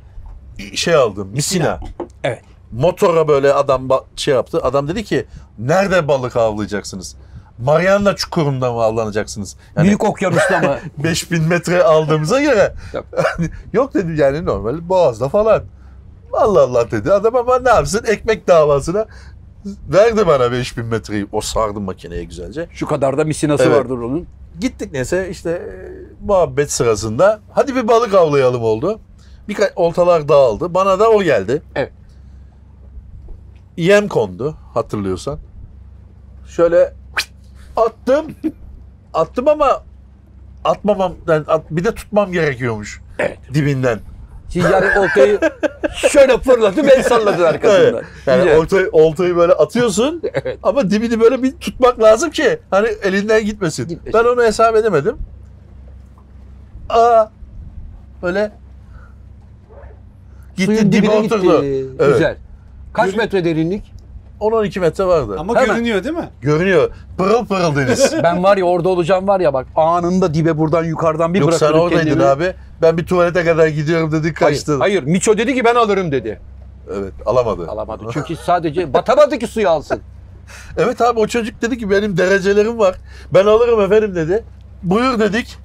şey aldım. Misina. Evet. Motora böyle adam ba- şey yaptı. Adam dedi ki nerede balık avlayacaksınız? Mariana Çukuru'nda mı avlanacaksınız? Yani Büyük okyanusta mı? 5000 metre aldığımıza göre. Tabii. Hani yok dedi yani normal boğazda falan. Allah Allah dedi adam ama ne yapsın ekmek davasına verdi bana 5000 metreyi. O sardım makineye güzelce. Şu kadar da misinası Evet. vardır onun. Gittik neyse işte e, muhabbet sırasında hadi bir balık avlayalım oldu. Birkaç oltalar dağıldı. Bana da o geldi. Evet. Yem kondu hatırlıyorsan. Şöyle attım. attım ama atmamam yani at- bir de tutmam gerekiyormuş. Evet. Dibinden. Siz yani oltayı şöyle fırladı ben salladım arkasından. Evet. Yani Güzel. oltayı, oltayı böyle atıyorsun Evet. ama dibini böyle bir tutmak lazım ki hani elinden gitmesin. Gitmesin. Ben onu hesap edemedim. Aa böyle gitti Suyun dibe dibine oturdu. gitti. Evet. Güzel. Kaç Yürü- metre derinlik? 10-12 metre vardı. Ama Hemen. görünüyor değil mi? Görünüyor. Pırıl pırıl deniz. Ben var ya orada olacağım var ya bak anında dibe buradan yukarıdan bir Yok sen bırakırım oradaydın kendimi. abi. Ben bir tuvalete kadar gidiyorum dedi kaçtı. Hayır, hayır. Miço dedi ki ben alırım dedi. Evet alamadı. Alamadı. Çünkü sadece batamadı ki suyu alsın. Evet abi o çocuk dedi ki benim derecelerim var. Ben alırım efendim dedi. Buyur dedik.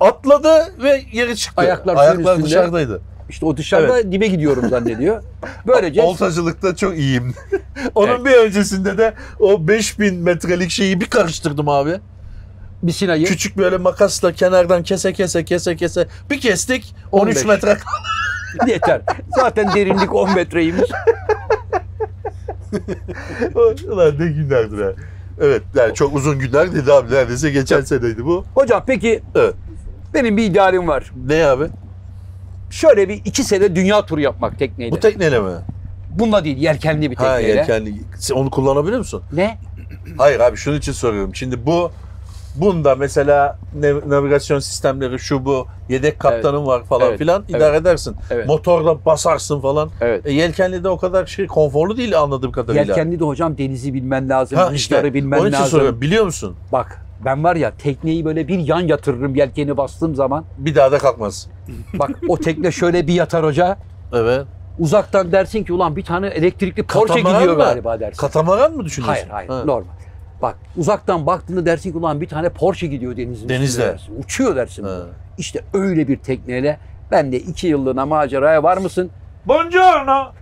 Atladı ve geri çıktı. Ayaklar suyun Ayaklar üstünde. dışarıdaydı. İşte o dışarıda dibe gidiyorum zannediyor. Böylece Oltacılıkta çok iyiyim. Onun Evet. bir öncesinde de o 5000 metrelik şeyi bir karıştırdım abi. misinayı Küçük böyle makasla kenardan kese kese kese kese bir kestik 13 15. metre. yeter. Zaten derinlik 10 metreymiş. Ulan ne günlerdi ha. Evet yani çok uzun günler dedi abi neredeyse geçen seneydi bu. Hocam peki Evet. benim bir idealim var. Ne abi? Şöyle bir iki sene dünya turu yapmak tekneyle. Bu tekneyle mi? Bununla değil yelkenli bir tekneyle. Ha yelkenli. Sen Onu kullanabiliyor musun? Ne? Hayır abi şunun için soruyorum. Şimdi bu bunda mesela nav- navigasyon sistemleri şu bu yedek kaptanın var falan Evet. filan Evet. idare edersin. Evet. Motorla basarsın falan. Evet. E, yelkenli de o kadar şey konforlu değil anladığım kadarıyla. Yelkenli de hocam denizi bilmen lazım, ha, rüzgarı işte, bilmen onun için lazım. soruyorum. Biliyor musun? Bak ben var ya tekneyi böyle bir yan yatırırım yelkeni bastığım zaman. Bir daha da kalkmaz. Bak o tekne şöyle bir yatar hoca. Evet. Uzaktan dersin ki ulan bir tane elektrikli Porsche Katamaran gidiyor mı? galiba dersin. Katamaran mı düşünüyorsun? hayır hayır Ha. normal. Bak uzaktan baktığında dersin ki ulan bir tane Porsche gidiyor denizin üstünde Denizde. dersin. Uçuyor dersin. Ha. İşte öyle bir tekneyle ben de iki yıllığına maceraya var mısın? Buongiorno.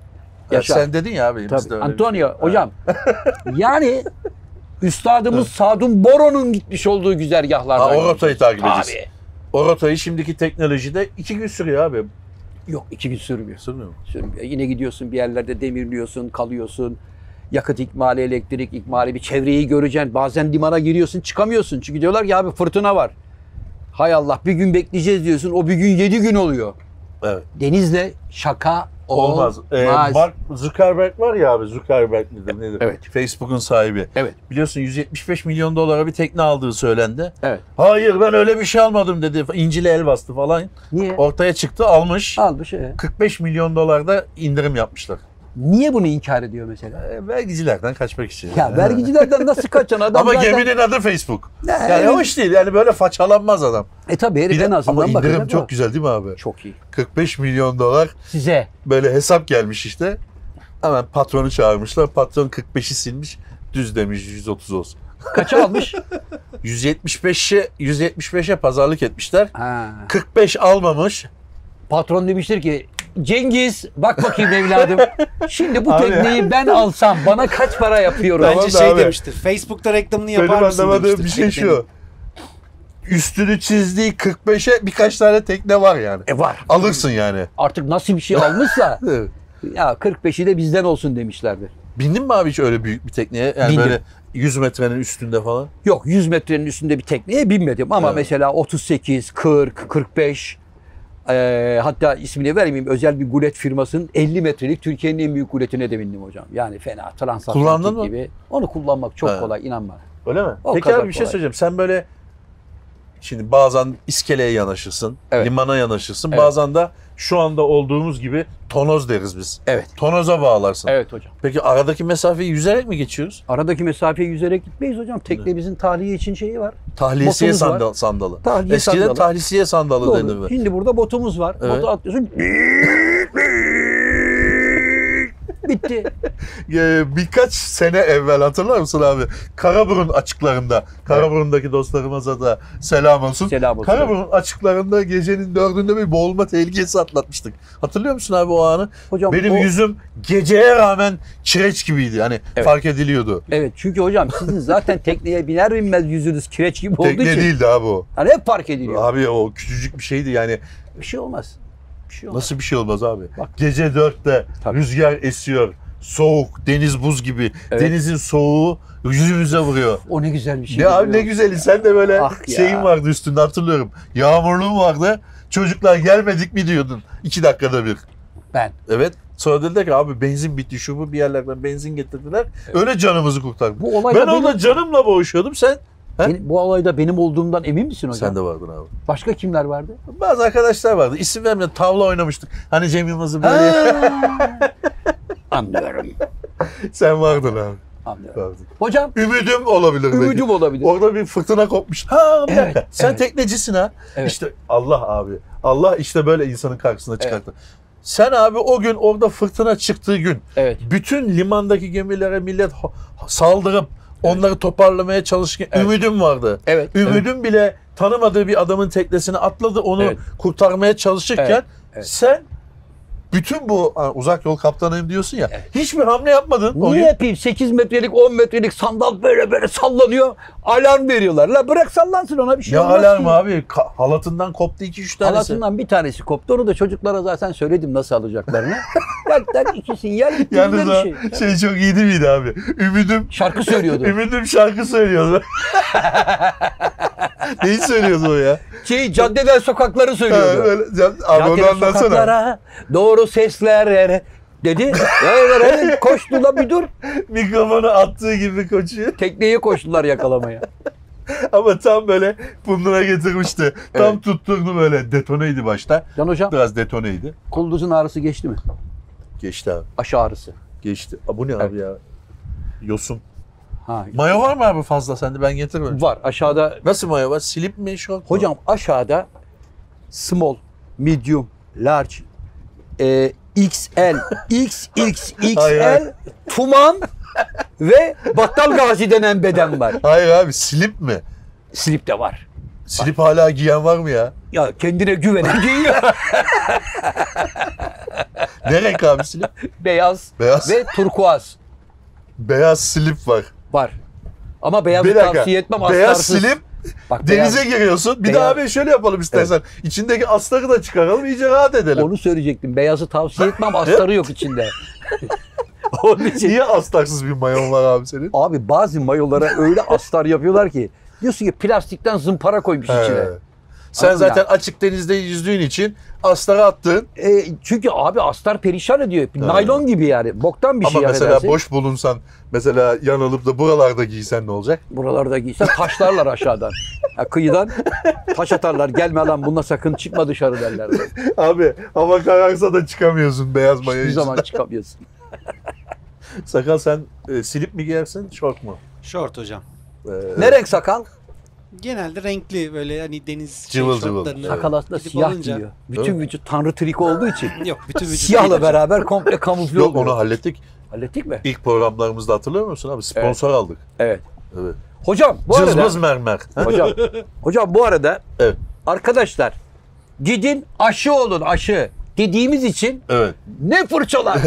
Yaşa. Sen dedin ya abi. Tabii. bizde öyle bir şey. Antonio hocam yani üstadımız Sadun Boro'nun gitmiş olduğu güzergahlardan. Ha, o rotayı takip edeceğiz. Abi. O rotayı şimdiki teknolojide iki gün sürüyor abi. Yok iki gün sürmüyor. Sürmüyor mu? sürmüyor. Yine gidiyorsun bir yerlerde demirliyorsun, kalıyorsun. Yakıt ikmali, elektrik ikmali, bir çevreyi göreceksin. Bazen limana giriyorsun, çıkamıyorsun. Çünkü diyorlar ki abi fırtına var. Hay Allah bir gün bekleyeceğiz diyorsun. O bir gün yedi gün oluyor. Evet. Denizle şaka Olmaz. olmaz. Ee, Mark Zuckerberg var ya abi. Zuckerberg midir nedir? Evet. Facebook'un sahibi. Evet. Biliyorsun 175 milyon dolara bir tekne aldığı söylendi. Evet. Hayır ben öyle bir şey almadım dedi. İncil'e el bastı falan. Niye? Ortaya çıktı almış. Almış. e. 45 milyon dolarda indirim yapmışlar. Niye bunu inkar ediyor mesela? Ee, vergicilerden kaçmak için. Ya vergilerden nasıl kaçan adam Ama zaten... geminin adı Facebook. Ne, Yani evet. hoş değil. Yani böyle façalanmaz adam. E tabii herif Bir de, en azından ama indirim bakacak çok ama- güzel değil mi abi? Çok iyi. 45 milyon dolar Size böyle hesap gelmiş işte. Hemen patronu çağırmışlar. Patron 45'i silmiş. Düz demiş 130 olsun. kaça almış? 175'e 175'e pazarlık etmişler. ha. 45 almamış. Patron demiştir ki Cengiz bak bakayım evladım. Şimdi bu Abi. tekneyi ben alsam bana kaç para yapıyorum? Tamam Bence da şey abi. demiştir. Facebook'ta reklamını yapar Benim mısın anlamadığım demiştir. bir şey Teknenin. şu. Üstünü çizdiği 45'e birkaç tane tekne var yani. E var. Alırsın yani. Artık nasıl bir şey almışsa Evet. ya 45'i de bizden olsun demişlerdir. Bindin mi abi hiç öyle büyük bir tekneye? Yani Bindim. böyle 100 metrenin üstünde falan. Yok 100 metrenin üstünde bir tekneye binmedim ama Evet. mesela 38, 40, 45 eee, hatta ismini vermeyeyim özel bir gulet firmasının 50 metrelik Türkiye'nin en büyük guletine de bindim hocam. Yani fena Kullandın mı? transatlantik gibi. Onu kullanmak çok Evet. kolay inan bana. Öyle mi? O Peki kadar abi bir şey kolay. söyleyeceğim. Sen böyle şimdi bazen iskeleye yanaşırsın, Evet. limana yanaşırsın. Evet. Bazen de şu anda olduğumuz gibi tonoz deriz biz. Evet. Tonoza bağlarsın. Evet hocam. Peki aradaki mesafeyi yüzerek mi geçiyoruz? Aradaki mesafeyi yüzerek gitmeyiz hocam. Tekne bizim tahliye için şeyi var. Tahlisiye Botumuz var. sandal, sandalı. Tahliye Eskiden sandalı. tahlisiye sandalı Doğru. denirdi. Şimdi burada botumuz var. Evet. Botu atlıyorsun. Bitti. Ee, birkaç sene evvel hatırlar mısın abi? Karaburun açıklarında, Karaburun'daki dostlarımıza da selam olsun. Selam olsun. Karaburun açıklarında gecenin dördünde bir boğulma tehlikesi atlatmıştık. Hatırlıyor musun abi o anı? Hocam Benim o- yüzüm geceye rağmen kireç gibiydi. Hani Evet. fark ediliyordu. Evet çünkü hocam sizin zaten tekneye biner binmez yüzünüz kireç gibi olduğu Tekne için. değildi abi o. Hani hep fark ediliyor. Abi o küçücük bir şeydi yani. Bir şey olmaz. Bir şey olmaz. Nasıl bir şey olmaz abi? Bak. Gece dörtte Tabii. rüzgar esiyor. Soğuk, deniz buz gibi. Evet. Denizin soğuğu yüzümüze vuruyor. O ne güzel bir şey. ya abi ne biliyor musun? güzeli. Sen de böyle Ah ya. şeyin vardı üstünde hatırlıyorum. Yağmurluğun vardı. Çocuklar gelmedik mi diyordun. iki dakikada bir. Ben. Evet. Sonra dediler ki abi benzin bitti şu bu bir yerlerden benzin getirdiler. Öyle canımızı kurtardık. Bu olayda Ben benim, orada canımla boğuşuyordum. Sen He? benim- bu olayda benim olduğumdan emin misin hocam? sen de vardın abi. Başka kimler vardı? Bazı arkadaşlar vardı. İsim vermeden tavla oynamıştık. Hani Cem Yılmaz'ın böyle. Ha. Anlıyorum. sen vardın abi. Anlıyorum. Vardın. Hocam Ümidim olabilir belki. ümüdüm olabilir. Orada bir fırtına kopmuş. Ha bir Evet, dakika. Sen evet. teknecisin ha. Evet. İşte Allah abi. Allah işte böyle insanın karşısına çıkarttı. Sen abi o gün orada fırtına çıktığı gün Evet. bütün limandaki gemilere millet ho- saldırıp onları toparlamaya çalışırken Evet. ümidim vardı. Evet. evet. Ümidin bile tanımadığı bir adamın teknesini atladı onu Evet. kurtarmaya çalışırken Evet, evet. sen bütün bu ha, uzak yol kaptanıyım diyorsun ya Evet. hiçbir hamle yapmadın. O Niye gün yapayım? 8 metrelik 10 metrelik sandal böyle böyle sallanıyor. Alarm veriyorlar. La bırak sallansın ona bir şey ne olmaz. alarm ki. abi Ka- halatından koptu iki üç tanesi. Halatından bir tanesi koptu. Onu da çocuklara zaten söyledim nasıl alacaklarını. tak tak iki sinyal gitti. Yalnız bir o şey. şey çok iyi değil miydi abi? Ümidim Şarkı söylüyordu. Ümidim şarkı söylüyordu. Neyi söylüyordu o ya? şey caddeden sokakları Ha, söylüyordu. böyle, ya, abi onu Caddeden anlatsana. sokaklara doğru sesler er- dedi. Evet, evet, Koştu la bir dur. Mikrofonu attığı gibi koçuyor. Tekneye koştular yakalamaya. Ama tam böyle punduna getirmişti. Tam tutturdu böyle. Detoneydi başta. Can hocam Biraz detoneydi. kulduzun ağrısı geçti mi? Geçti abi. Aşı ağrısı. Geçti. Aa, bu ne abi ya? Yosun. Ha. Mayo var mı abi fazla sende? Ben getirmedim. Var aşağıda Nasıl mayo var? Slip mi? Şort mu? Hocam aşağıda small, medium, large, e, XL, Hayır, hayır. XXXL, tuman, ve Battal Gazi denen beden var. Hayır abi slip mi? Slip de var. Slip hala giyen var mı ya? Ya kendine güvenen giyiyor. Ne renk abi slip? beyaz, Beyaz. ve turkuaz Beyaz slip var. var. Ama beyazı Bir dakika. tavsiye etmem Beyaz aslarsız. slip Bak, denize beyaz- giriyorsun. Bir de Beyaz- abi şöyle yapalım istersen. İçindeki astarı da çıkaralım iyice rahat edelim. Onu söyleyecektim. Beyazı tavsiye etmem. Astarı yok içinde. Onun için. Niye astarsız bir mayon var abi senin? Abi bazı mayolara öyle astar yapıyorlar ki. Diyorsun ki plastikten zımpara koymuş içine. He. Sen Anladın zaten açık denizde yüzdüğün için astarı attın. E, çünkü abi astar perişan ediyor. Naylon gibi yani. Boktan bir Ama şey mesela affedersin. boş bulunsan mesela yanılıp da buralarda giysen ne olacak? Buralarda giysen taşlarlar aşağıdan. Ya kıyıdan taş atarlar. Gelme lan bununla sakın çıkma dışarı derler. Abi hava kararsa da çıkamıyorsun beyaz mayo Hiçbir için. zaman çıkamıyorsun. Sakal sen e, silip mi giyersin şort mu? Şort hocam. E, Ne renk sakal? Genelde renkli böyle hani deniz şey Cıvıl cıvıl. şortlarını Sakal aslında gidip siyah alınca- giyiyor. Değil Bütün mi? vücut tanrı triki olduğu için. Yok bütün vücut Siyahla değil hocam. beraber komple kamufle Yok oluyor. onu hallettik. Hallettik mi? İlk programlarımızda hatırlıyor musun abi? Sponsor aldık. Evet. Evet. Hocam bu Cılmız arada mermer. Ha? hocam hocam bu arada Evet. arkadaşlar gidin aşı olun aşı dediğimiz için Evet. ne fırçalar.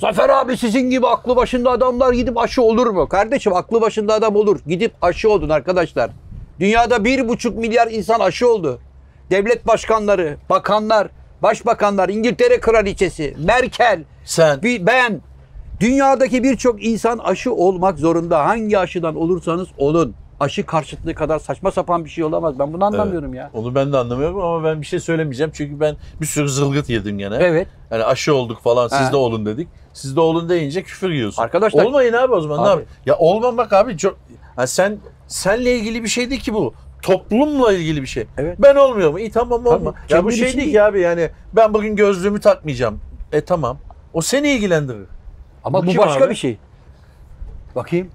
Zafer abi sizin gibi aklı başında adamlar gidip aşı olur mu? Kardeşim aklı başında adam olur. Gidip aşı olun arkadaşlar. Dünyada bir buçuk milyar insan aşı oldu. Devlet başkanları, bakanlar, başbakanlar, İngiltere kraliçesi, Merkel, Sen bir ben dünyadaki birçok insan aşı olmak zorunda. Hangi aşıdan olursanız olun. Aşı karşıtlığı kadar saçma sapan bir şey olamaz. Ben bunu anlamıyorum ya. onu ben de anlamıyorum ama ben bir şey söylemeyeceğim çünkü ben bir sürü zılgıt yedim gene. Evet. Yani Hani aşı olduk falan siz Ha. de olun dedik. Siz de olun deyince küfür yiyorsun. Arkadaşlar- Olmayın abi o zaman Abi. ne yapayım? Ya olmamak abi çok... Ha sen senle ilgili bir şey değil ki bu. Toplumla ilgili bir şey. Evet. Ben olmuyorum. İyi tamam olma. Tabii. Ya bu Kendin şey için değil ki değil. abi yani ben bugün gözlüğümü takmayacağım. E tamam. O seni ilgilendirir. Ama Bu bu, kim başka abi? bir şey. Bakayım.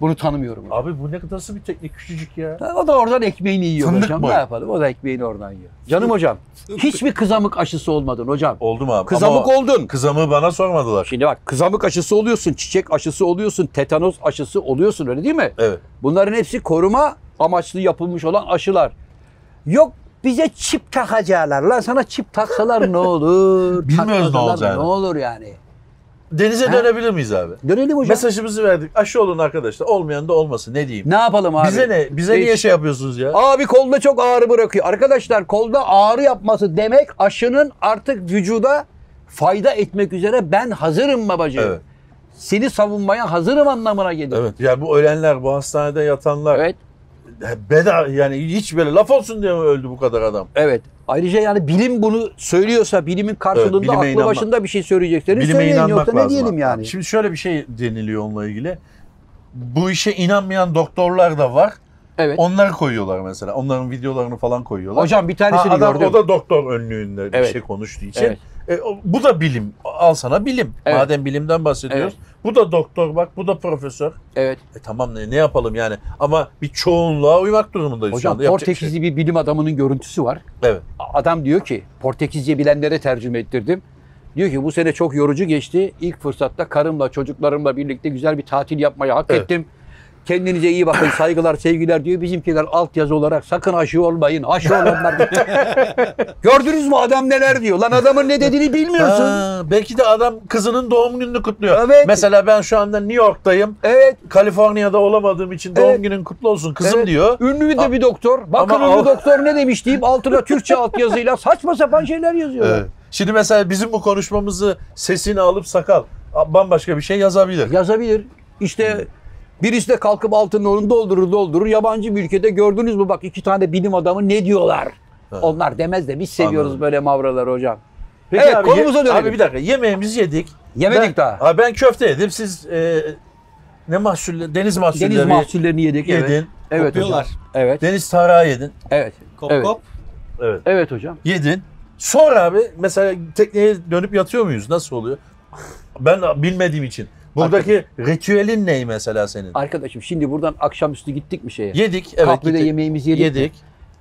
Bunu tanımıyorum. Abi bu ne kadar nasıl bir teknik küçücük ya. O da oradan ekmeğini yiyor Fındık hocam. mı? Ne yapalım? O da ekmeğini oradan yiyor. Canım hocam. Hiçbir kızamık aşısı olmadın hocam. Oldum abi. Kızamık Ama oldun. Kızamığı bana sormadılar. Şimdi bak kızamık aşısı oluyorsun, çiçek aşısı oluyorsun, tetanoz aşısı oluyorsun öyle değil mi? Evet. Bunların hepsi koruma amaçlı yapılmış olan aşılar. Yok bize çip takacaklar. Lan sana çip taksalar ne olur? Bilmiyoruz ne takmasalar olacağını. Ne olur yani? Denize Ha? dönebilir miyiz abi? Dönelim hocam. Mesajımızı verdik. Aşı olun arkadaşlar. Olmayan da olmasın. Ne diyeyim? ne yapalım abi? Bize ne? Bize Hiç. niye şey yapıyorsunuz ya? Abi kolda çok ağrı bırakıyor. Arkadaşlar kolda ağrı yapması demek aşının artık vücuda fayda etmek üzere ben hazırım babacığım. Evet. Seni savunmaya hazırım anlamına gelir. Evet. Yani bu ölenler, bu hastanede yatanlar Evet. beda yani hiç böyle laf olsun diye mi öldü bu kadar adam? Evet. Ayrıca yani bilim bunu söylüyorsa bilimin karşılığında Evet, bilime aklı inanmak- başında bir şey söyleyeceklerini Bilime söyleyin inanmak yoksa lazım. ne diyelim abi. yani. Şimdi şöyle bir şey deniliyor onunla ilgili. Bu işe inanmayan doktorlar da var. Evet. Onları koyuyorlar mesela. Onların videolarını falan koyuyorlar. Hocam bir Ha, tanesini adam gördüm. o da doktor önlüğünde bir Evet. şey konuştuğu için. Evet. E, o- bu da bilim. Al sana bilim. Evet. Madem bilimden bahsediyoruz. Bu da doktor bak, bu da profesör. Evet. E tamam ne, ne yapalım yani. Ama bir çoğunluğa uymak durumundayız. şu Hocam anda. Yapacak bir şey Portekizli bir bilim adamının görüntüsü var. yok. Evet. A- Adam diyor ki Portekizce bilenlere tercüme ettirdim. Diyor ki bu sene çok yorucu geçti. İlk fırsatta karımla çocuklarımla birlikte güzel bir tatil yapmayı hak Evet. ettim. Kendinize iyi bakın. Saygılar, sevgiler diyor. Bizimkiler altyazı olarak sakın aşı olmayın. Aşı olanlar. Gördünüz mü adam neler diyor? Lan adamın ne dediğini bilmiyorsun. Ha, belki de adam kızının doğum gününü kutluyor. Evet. Mesela ben şu anda New York'tayım. Evet. Kaliforniya'da olamadığım için doğum Evet. günün kutlu olsun kızım Evet. diyor. Ünlü bir de bir doktor. Bakın Ama ünlü al- doktor ne demiş deyip altına Türkçe altyazıyla saçma sapan şeyler yazıyorlar. Evet. Şimdi mesela bizim bu konuşmamızı sesini alıp sakal a- bambaşka bir şey yazabilir. Yazabilir. İşte birisi de kalkıp altını onu doldurur doldurur. Yabancı bir ülkede gördünüz mü bak iki tane bilim adamı ne diyorlar? Onlar demez de biz seviyoruz Anladım. böyle mavraları hocam. Peki evet abi, konumuza ye- dönelim. Abi bir dakika yemeğimizi yedik. Yemedik ben, daha. Abi ben köfte yedim. Siz e, ne mahsulle deniz mahsulleri Deniz mahsullerini yedik. yedin. Evet. Evet hocam. Kopuyorlar. Evet. Deniz tarağı yedin. Evet. Kop evet. kop. Evet. Evet hocam. Yedin. Sonra abi mesela tekneye dönüp yatıyor muyuz? Nasıl oluyor? Ben bilmediğim için. Buradaki ritüelin ney mesela senin? Arkadaşım şimdi buradan akşamüstü gittik mi şeye? Yedik. Evet. Kahvede gittik. yemeğimizi yedik. yedik.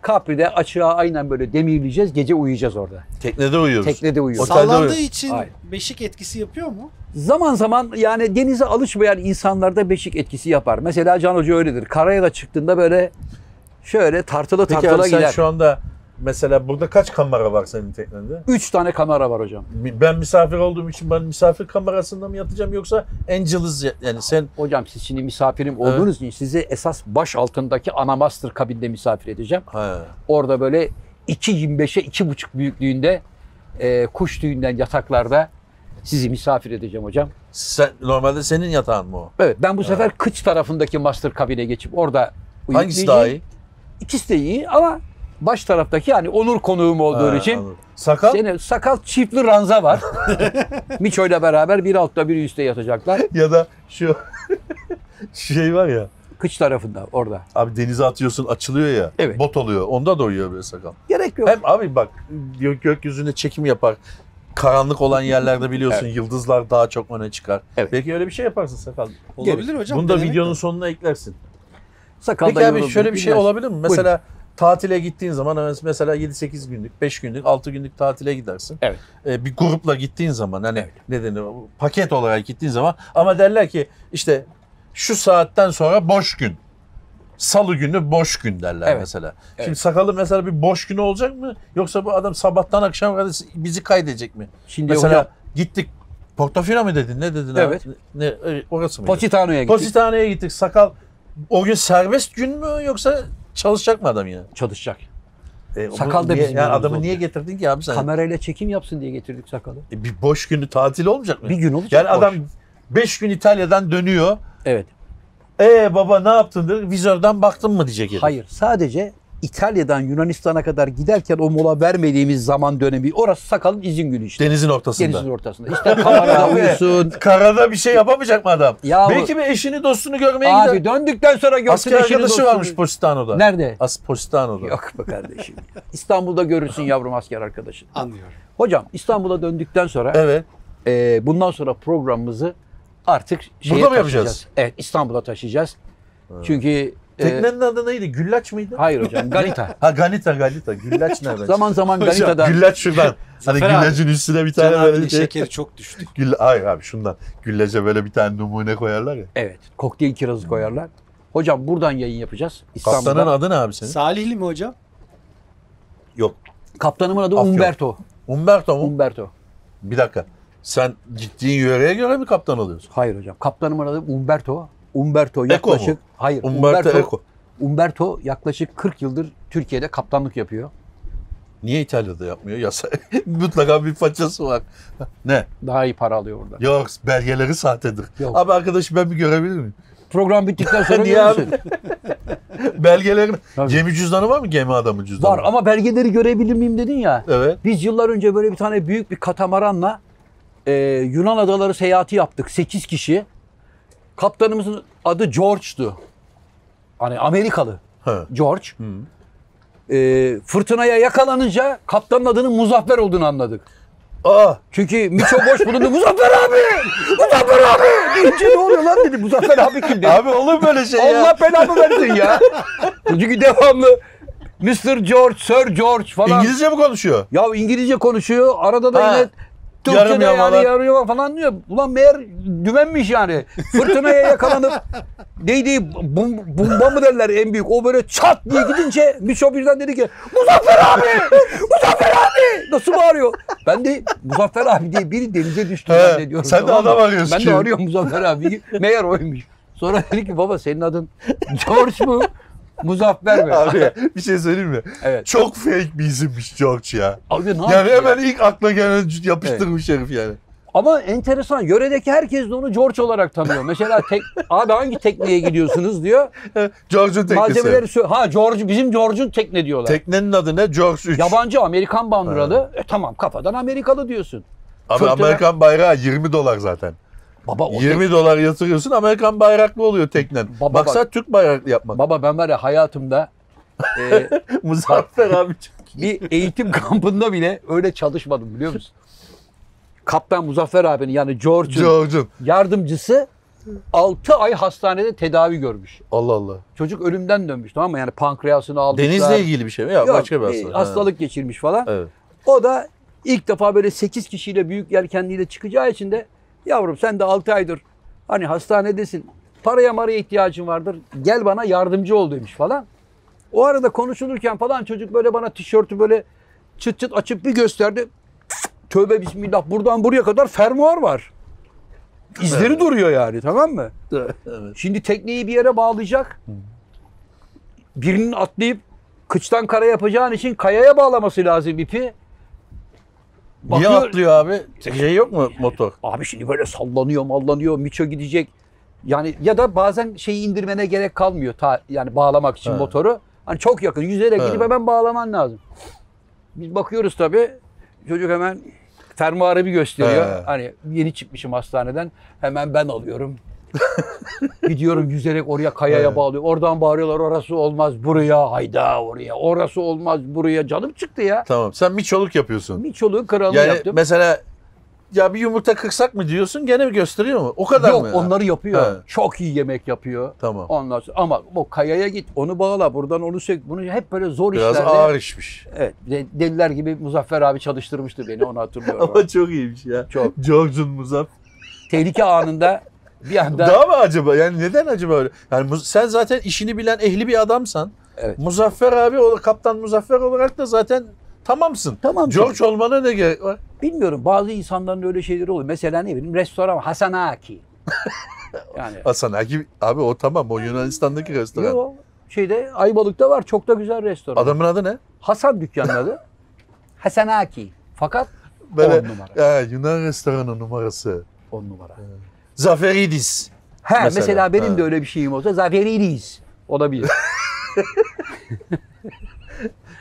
Capri'de açığa aynen böyle demirleyeceğiz. Gece uyuyacağız orada. Teknede uyuyoruz. Teknede uyuyoruz. Otelde Sallandığı uyuyor. için Hayır. beşik etkisi yapıyor mu? Zaman zaman yani denize alışmayan insanlarda beşik etkisi yapar. Mesela Can Hoca öyledir. Karaya da çıktığında böyle şöyle tartılı Peki tartıla abi sen gider. şu anda mesela burada kaç kamera var senin teknede? Üç tane kamera var hocam. Ben misafir olduğum için ben misafir kamerasında mı yatacağım yoksa Angel's yani sen Hocam siz şimdi misafirim olduğunuz için sizi esas baş altındaki Anamaster kabinde misafir edeceğim. ha. Orada böyle 2.25'e 2.5 büyüklüğünde e, kuş tüyünden yataklarda sizi misafir edeceğim hocam. Sen, normalde senin yatağın mı o? Evet ben bu sefer kıç tarafındaki master kabine geçip orada Hangisi uyuklayacağım. daha iyi? İkisi de iyi ama baş taraftaki yani onur konuğum olduğu Ha, için anladım. Sakal? gene sakal çiftli ranza var. Miço'yla beraber bir altta bir üstte yatacaklar. Ya da şu şu şey var ya. Kıç tarafında orada. Abi denize atıyorsun açılıyor ya. Evet. Bot oluyor. Onda da uyuyor böyle sakal. Gerek yok. Hem abi bak gö- gökyüzünde çekim yapar. Karanlık olan yerlerde biliyorsun yıldızlar daha çok öne çıkar. Evet. Belki öyle bir şey yaparsın sakal. Olabilir hocam. Bunu da denemek videonun lazım. sonuna eklersin. Sakal da Peki abi yoruldu, şöyle bir şey bilmez. olabilir mi? Mesela tatile gittiğin zaman mes- mesela 7-8 günlük, 5 günlük, 6 günlük tatile gidersin. Evet. Ee, bir grupla gittiğin zaman hani ne denir? Paket olarak gittiğin zaman ama derler ki işte şu saatten sonra boş gün. Salı günü boş gün derler Evet. mesela. Evet. Şimdi sakalı mesela bir boş günü olacak mı? Yoksa bu adam sabahtan akşam kadar bizi kaydedecek mi? Şimdi Mesela hocam gittik Portofino mu dedin? Ne dedin Evet. abi? Ne, e, orası mı? Positano'ya gittik. Positane'ye gittik. Sakal o gün serbest gün mü yoksa çalışacak mı adam yine? Çalışacak. E, bu Sakal da niye- bizim yani yanımızda adamı olacak. niye getirdin ki abi sen? Kamerayla çekim yapsın diye getirdik sakalı. E, bir boş günü tatil olmayacak mı? Bir gün olacak. yani boş. adam 5 gün İtalya'dan dönüyor. Evet. E baba ne yaptın? der, Vizörden baktın mı diyecek herif. Hayır. Sadece İtalya'dan Yunanistan'a kadar giderken o mola vermediğimiz zaman dönemi orası sakalın izin günü işte. Denizin ortasında. Denizin ortasında. İşte kamerada Abi, uyusun. Karada bir şey yapamayacak mı adam? Ya bu- Belki bir eşini dostunu görmeye Abi gider. döndükten sonra görsün Asker eşini, arkadaşı dostunu. varmış Positano'da. Nerede? As Positano'da. Yok be kardeşim. İstanbul'da görürsün yavrum asker arkadaşını. Anlıyorum. Hocam İstanbul'a döndükten sonra Evet. e, bundan sonra programımızı artık şeye Burada mı taşıyacağız. yapacağız? Evet İstanbul'a taşıyacağız. Çünkü e, Teknenin adı neydi? Güllaç mıydı? hayır hocam Galita. Ha Ganita Ganita. Güllaç nereden? zaman zaman Hocam, Galita'dan Güllaç şuradan. Hani Zafer abi, güllacın üstüne bir Can tane böyle abinin bir şey. şekeri çok düştü. Gülle- hayır abi şundan. Güllaca böyle bir tane numune koyarlar ya. Evet. Kokteyl kirazı koyarlar. Hocam buradan yayın yapacağız. İstanbul'da. Kaptanın adı ne abi senin? Salihli mi hocam? Yok. Kaptanımın adı Afyon. Umberto. Umberto mu? Umberto. Bir dakika. Sen gittiğin yöreye göre mi kaptan oluyorsun? Hayır hocam. Kaptanımın adı Umberto. Umberto Eko yaklaşık mu? hayır. Umberto Eco. Umberto yaklaşık 40 yıldır Türkiye'de kaptanlık yapıyor. Niye İtalya'da yapmıyor? Yasa. Mutlaka bir façası var. ne? Daha iyi para alıyor orada. Yok belgeleri sahtedir. Yok. Abi arkadaş ben bir görebilir miyim? Program bittikten sonra Niye görürsün. Belgelerin Tabii. gemi cüzdanı var mı gemi adamı cüzdanı? Var ama belgeleri görebilir miyim dedin ya. Evet. Biz yıllar önce böyle bir tane büyük bir katamaranla e, Yunan adaları seyahati yaptık. 8 kişi. Kaptanımızın adı George'tu. Hani Amerikalı Ha. George. E, fırtınaya yakalanınca kaptanın adının Muzaffer olduğunu anladık. Aa Çünkü Miço boş bulundu. Muzaffer abi! Muzaffer abi! Deyince ne oluyor lan dedi. Muzaffer abi kim dedi. Abi olur böyle şey ya. Allah belamı versin ya. Çünkü devamlı Mr. George, Sir George falan. İngilizce mi konuşuyor? Ya İngilizce konuşuyor. Arada da Ha. yine Türkçe Yarım de yani yamalar. yarıyor falan diyor. Ulan meğer dümenmiş yani. Fırtınaya yakalanıp neydi bum, bomba mı derler en büyük. O böyle çat diye gidince Miço birden dedi ki Muzaffer abi! Muzaffer abi! Nasıl bağırıyor? Ben de Muzaffer abi diye biri denize düştü He, zannediyorum. sen de tamam mı? adam arıyorsun Ben de ki. arıyorum Muzaffer abi. Meğer oymuş. Sonra dedi ki baba senin adın George mu? Muzaffer mi? Abi bir şey söyleyeyim mi? Evet. Çok fake bir isimmiş George ya. Abi ne Yani yapıyor? hemen ilk akla gelen yapıştırmış herif yani. Ama enteresan. Yöredeki herkes de onu George olarak tanıyor. Mesela tek, abi hangi tekneye gidiyorsunuz diyor. George'un teknesi. Malzemeleri sö- Ha George, bizim George'un tekne diyorlar. Teknenin adı ne? George 3. Yabancı Amerikan bandıralı. E, tamam kafadan Amerikalı diyorsun. Abi fırtına- Amerikan bayrağı 20 dolar zaten. Baba o 20 dolar yatırıyorsun Amerikan bayraklı oluyor teknen. Baba Maksat Türk bayraklı yapmak. Baba ben var ya hayatımda e, Muzaffer abi. bir eğitim kampında bile öyle çalışmadım biliyor musun? Kaptan Muzaffer abinin yani George'un George'un. yardımcısı 6 ay hastanede tedavi görmüş. Allah Allah. Çocuk ölümden dönmüş tamam mı? Yani pankreasını almışlar. Denizle ilgili bir şey mi? Ya Yok, başka bir e, hastalık. hastalık geçirmiş falan. Ha, Evet. O da ilk defa böyle 8 kişiyle büyük yelkenliyle çıkacağı için de yavrum sen de 6 aydır hani hastanedesin. Paraya maraya ihtiyacın vardır. Gel bana yardımcı ol demiş falan. O arada konuşulurken falan çocuk böyle bana tişörtü böyle çıt çıt açıp bir gösterdi. Tövbe bismillah buradan buraya kadar fermuar var. İzleri duruyor yani tamam mı? evet. Şimdi tekneyi bir yere bağlayacak. Birinin atlayıp kıçtan kara yapacağın için kayaya bağlaması lazım ipi. Niye Bakıyor- atlıyor abi? Şey yok mu motor? Abi şimdi böyle sallanıyor mallanıyor miço gidecek. Yani ya da bazen şeyi indirmene gerek kalmıyor ta, yani bağlamak için He. motoru. Hani çok yakın yüzerek He. gidip hemen bağlaman lazım. Biz bakıyoruz tabii çocuk hemen fermuarı bir gösteriyor. He. Hani yeni çıkmışım hastaneden hemen ben alıyorum. Gidiyorum yüzerek oraya kayaya He. bağlıyor. Oradan bağırıyorlar orası olmaz buraya hayda oraya. Orası olmaz buraya canım çıktı ya. Tamam. Sen miçoluk yapıyorsun. Miçoluğu kralını Yani yaptım. mesela ya bir yumurta kırsak mı diyorsun gene mi gösteriyor mu? O kadar Yok mı? ya? onları yapıyor. He. Çok iyi yemek yapıyor. Tamam. Ondan sonra, ama bu kayaya git, onu bağla, buradan onu sök. Bunu hep böyle zor Biraz işlerde. ağır işmiş. Evet, de- deliler gibi Muzaffer abi çalıştırmıştı beni, onu hatırlıyorum. Ama çok iyiymiş ya. Çok. George'un Muzaf. Tehlike anında bir anda Daha mı acaba? Yani neden acaba öyle? Yani Muz- sen zaten işini bilen ehli bir adamsan. Evet. Muzaffer abi, o- kaptan Muzaffer olarak da zaten tamamsın. tamam George olmana ne gerek var? bilmiyorum bazı insanların öyle şeyleri oluyor. Mesela ne bileyim restoran Hasanaki. yani Hasan Aki, abi o tamam o Yunanistan'daki restoran. yo, şeyde Ayvalık'ta var çok da güzel restoran. Adamın adı ne? Hasan dükkanın adı. Hasanaki. Fakat On numara. He, Yunan restoranı numarası. on numara. Zaferidis. He mesela, Mesela, benim he. de öyle bir şeyim olsa zaferiyiz. Olabilir.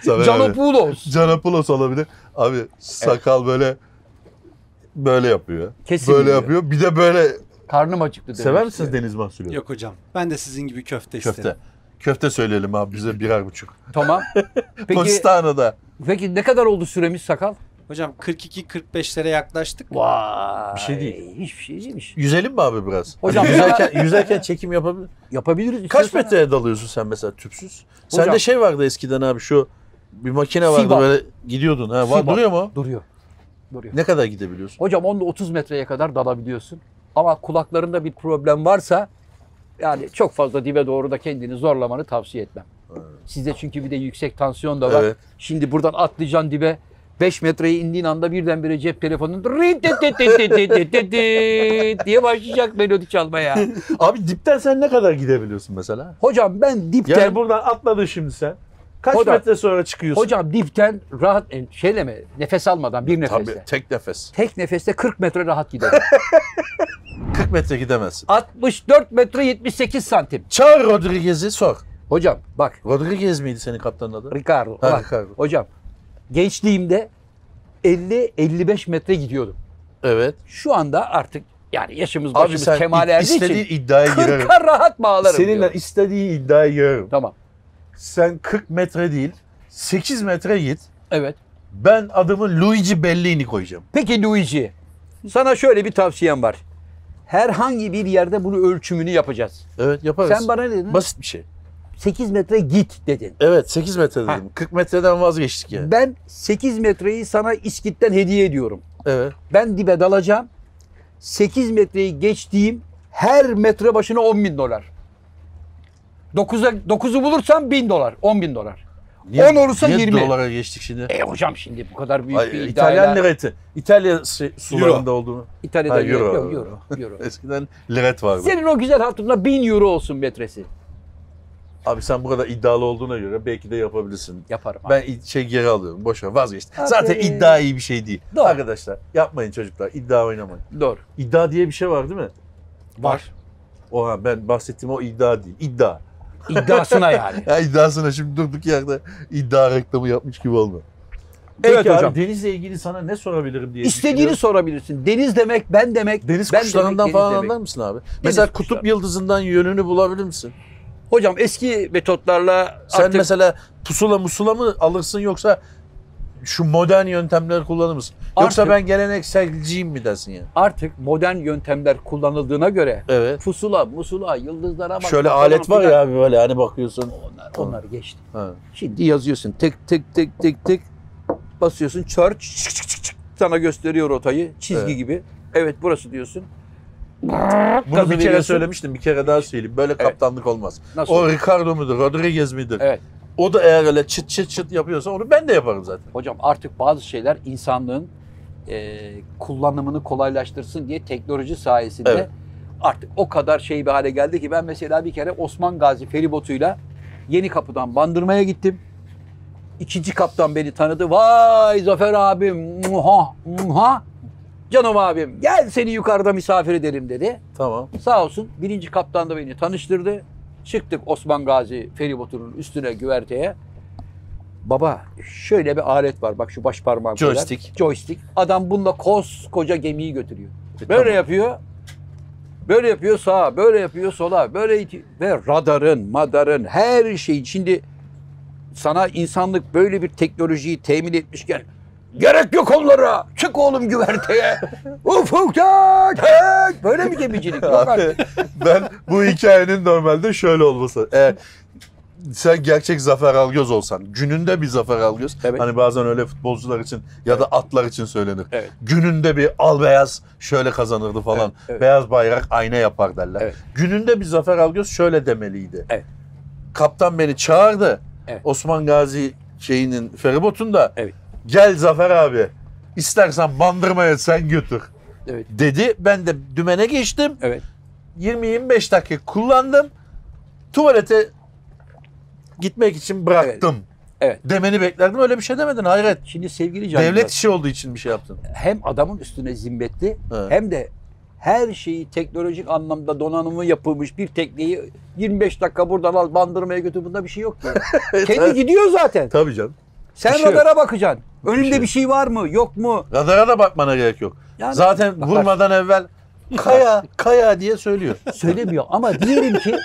Zafer abi. Canopoulos. Canopoulos olabilir. Abi sakal böyle böyle yapıyor. Kesin böyle biliyor. yapıyor. Bir de böyle Karnım acıktı demiş. Sever misiniz deniz mahsulü? Yok hocam. Ben de sizin gibi köfte, Köfte. isterim. Köfte söyleyelim abi bize birer buçuk. Tamam. Peki, Bostanlı'da. peki ne kadar oldu süremiz sakal? Hocam 42-45'lere yaklaştık. Vay. Bir şey değil. Hiçbir şey değilmiş. Yüzelim mi abi biraz? Hani Hocam- yüzerken, yüzerken çekim yapabilir. Yapabiliriz. Kaç istiyorsan. metreye dalıyorsun sen mesela tüpsüz? Hocam- Sende şey vardı eskiden abi şu bir makine vardı Sibap. böyle gidiyordun. Ha, var, Sibap. duruyor mu? Duruyor. Duruyor. Ne kadar gidebiliyorsun? Hocam onda 30 metreye kadar dalabiliyorsun. Ama kulaklarında bir problem varsa yani çok fazla dibe doğru da kendini zorlamanı tavsiye etmem. Sizde çünkü bir de yüksek tansiyon da var. Evet. Şimdi buradan atlayacaksın dibe. 5 metreye indiğin anda birdenbire cep telefonun rit dit dit dit dit dit dit dit diye başlayacak melodi çalmaya. Abi dipten sen ne kadar gidebiliyorsun mesela? Hocam ben dipten Yani buradan atladın şimdi sen. Kaç Hocam- metre sonra çıkıyorsun? hocam dipten rahat e, şeyle mi nefes almadan bir Tabii nefeste. tek nefes. Tek nefeste 40 metre rahat giderim. 40 metre gidemezsin. 64 metre 78 santim. Çağır Rodriguez'i sor. Hocam bak Rodriguez miydi senin kaptanın adı? Ricardo. Ha, Bak, Ricardo. Hocam gençliğimde 50-55 metre gidiyordum. Evet. Şu anda artık yani yaşımız Abi başımız sen kemale i- erdiği istediğin için iddiaya girerim. 40'a rahat bağlarım Seninle diyorum. istediğin iddiaya girerim. Tamam. Sen 40 metre değil 8 metre git. Evet. Ben adımı Luigi Bellini koyacağım. Peki Luigi sana şöyle bir tavsiyem var. Herhangi bir yerde bunu ölçümünü yapacağız. Evet yaparız. Sen bana ne dedin? Basit bir şey. 8 metre git dedin. Evet 8 metre dedim. 40 metreden vazgeçtik yani. Ben 8 metreyi sana İskit'ten hediye ediyorum. Evet. Ben dibe dalacağım. 8 metreyi geçtiğim her metre başına 10 bin dolar. 9'a 9'u bulursam 1000 dolar, 10 bin dolar. 10 olursa niye 20. dolara geçtik şimdi? E hocam şimdi bu kadar büyük bir Ay, iddiayla İtalyan lireti. İtalya şey- sularında olduğunu. İtalya'da Ha, euro. euro. Yok, euro, euro. Eskiden liret vardı. Senin o güzel hatunla 1000 euro olsun metresi. Abi sen bu kadar iddialı olduğuna göre belki de yapabilirsin. Yaparım. abi. Ben i- şey geri alıyorum. Boş ver vazgeçtim. Aferin. Zaten iddia iyi bir şey değil. Doğru. Arkadaşlar yapmayın çocuklar. iddia oynamayın. Doğru. İddia diye bir şey var değil mi? Var. Oha ben bahsettiğim o iddia değil. İddia. İddiasına yani. Ya iddiasına şimdi durduk yerde iddia reklamı yapmış gibi olma. Evet Peki hocam. Abi, denizle ilgili sana ne sorabilirim diye İstediğini sorabilirsin. Deniz demek, ben demek, Deniz ben kuşlarından demek, deniz falan demek. anlar mısın abi? Mesela kuşları. kutup yıldızından yönünü bulabilir misin? Hocam eski metotlarla Sen artık mesela pusula musula mı alırsın yoksa şu modern yöntemleri kullanır mısın? Yoksa Artık- ben gelenekselciyim mi dersin ya? Artık modern yöntemler kullanıldığına göre Evet. pusula, musula, yıldızlara bak. Şöyle falan alet var filan. ya abi böyle hani bakıyorsun. Onlar, onlar geçti. Ha. Şimdi yazıyorsun tık tık tık tık tık basıyorsun church çık çık çık çık sana gösteriyor rotayı çizgi Evet. gibi. Evet burası diyorsun. Bunu bir kere veriyorsun. söylemiştim bir kere daha söyleyeyim. Böyle kaptanlık olmaz. Nasıl? O Ricardo mudur, Rodriguez midir? Evet. O da eğer öyle çıt çıt çıt yapıyorsa onu ben de yaparım zaten. Hocam artık bazı şeyler insanlığın e, kullanımını kolaylaştırsın diye teknoloji sayesinde Evet. artık o kadar şey bir hale geldi ki ben mesela bir kere Osman Gazi feribotuyla Yeni Kapı'dan Bandırma'ya gittim. İkinci kaptan beni tanıdı. Vay Zafer abim, muha, muha. Canım abim gel seni yukarıda misafir edelim dedi. Tamam. Sağ olsun birinci kaptan da beni tanıştırdı. Çıktık Osman Gazi feribotunun üstüne güverteye. Baba şöyle bir alet var bak şu baş parmağım kadar. Joystick. Joystick. Adam bununla koskoca gemiyi götürüyor. E, Böyle tamam. yapıyor. Böyle yapıyor sağa, böyle yapıyor sola, böyle iti- ve radarın, madarın her şeyin şimdi sana insanlık böyle bir teknolojiyi temin etmişken gerek yok onlara. Çık oğlum güverteye. Ufukta tek. Böyle mi gemicilik? Yok artık. Abi, ben bu hikayenin normalde şöyle olması. Eğer sen gerçek Zafer Algöz olsan, gününde bir Zafer Algöz. Evet. Hani bazen öyle futbolcular için ya da atlar için söylenir. Evet. Gününde bir al beyaz şöyle kazanırdı falan. Evet, evet. Beyaz bayrak ayna yapar derler. Evet. Gününde bir Zafer Algöz şöyle demeliydi. Evet. Kaptan beni çağırdı. Evet. Osman Gazi şeyinin feribotunda. Evet. Gel Zafer abi. İstersen bandırmaya sen götür. Evet. Dedi. Ben de dümene geçtim. Evet. 20-25 dakika kullandım. Tuvalete gitmek için bıraktım. Evet. Demeni beklerdim. Öyle bir şey demedin. Hayret. Şimdi sevgili canlar Devlet işi olduğu için bir şey yaptın. hem adamın üstüne zimmetli Evet. hem de her şeyi teknolojik anlamda donanımı yapılmış bir tekneyi 25 dakika buradan al bandırmaya götür bunda bir şey yok ki. Kendi gidiyor zaten. Tabii canım. Sen Bir şey yok. radara bakacaksın. Önümde şey bir şey var mı yok mu? Radara da bakmana gerek yok. Yani Zaten Bakar. vurmadan evvel kaya kaya diye söylüyor. söylemiyor ama diyelim ki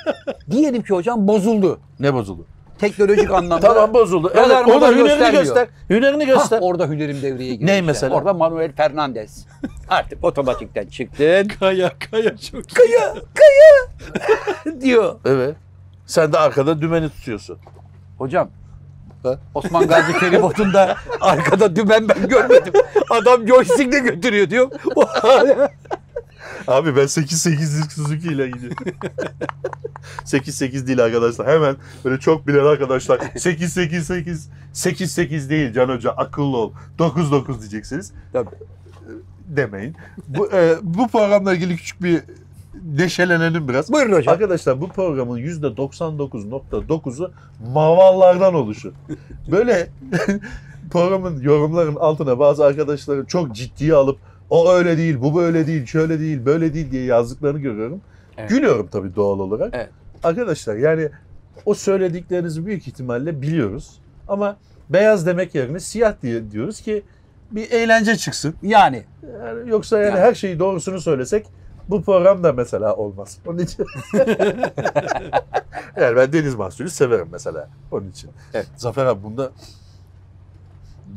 diyelim ki hocam bozuldu. Ne bozuldu? Teknolojik anlamda. Tamam bozuldu. Evet, Radar o da model hünerini göstermiyor. Ah, göster. Hünerini Hah, göster. orada hünerim devreye girdi. Ne işte. mesela? Orada Manuel Fernandez. Artık otomatikten çıktın. Kaya kaya çok iyi. Kaya kaya diyor. Evet. Sen de arkada dümeni tutuyorsun. Hocam Ha? Osman Gazi feribotunda arkada dümen ben görmedim. Adam joystickle götürüyor diyor. Abi ben 8-8'lik Suzuki ile gidiyorum. 8-8 değil arkadaşlar. Hemen böyle çok bilen arkadaşlar 8-8-8 8-8 değil Can Hoca akıllı ol. 9-9 diyeceksiniz. Tabii. Demeyin. Bu, e, bu programla ilgili küçük bir neşelenelim biraz. Buyurun hocam. Arkadaşlar bu programın %99.9'u mavallardan oluşur. Böyle programın yorumların altına bazı arkadaşları çok ciddiye alıp o öyle değil, bu böyle değil, şöyle değil, böyle değil diye yazdıklarını görüyorum. Evet. Gülüyorum tabii doğal olarak. Evet. Arkadaşlar yani o söylediklerinizi büyük ihtimalle biliyoruz. Ama beyaz demek yerine siyah diye diyoruz ki bir eğlence çıksın. Yani Yani yoksa yani Yani. her şeyi doğrusunu söylesek bu program da mesela olmaz. Onun için. yani ben deniz mahsulü severim mesela. Onun için. Evet. Zafer abi bunda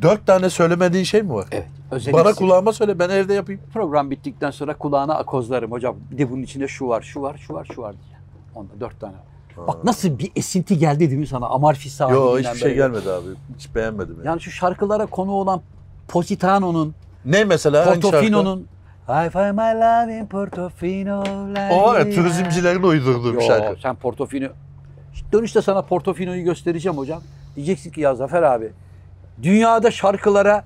dört tane söylemediğin şey mi var? evet. Özellikle Bana kulağıma söyle ben evde yapayım. program bittikten sonra kulağına akozlarım hocam. Bir de bunun içinde şu var, şu var, şu var, şu var diye. Onda dört tane. var. Bak nasıl bir esinti geldi değil mi sana Amalfi sahilinden Yo hiçbir şey böyle. gelmedi abi. Hiç beğenmedim. Yani. Yani şu şarkılara konu olan Positano'nun, Ne mesela? hangi şarkı? Portofino'nun. I find my love in Portofino. la O var ya la. turizmcilerin uydurduğu bir Yo, şarkı. Sen Portofino. Dönüşte sana Portofino'yu göstereceğim hocam. Diyeceksin ki ya Zafer abi dünyada şarkılara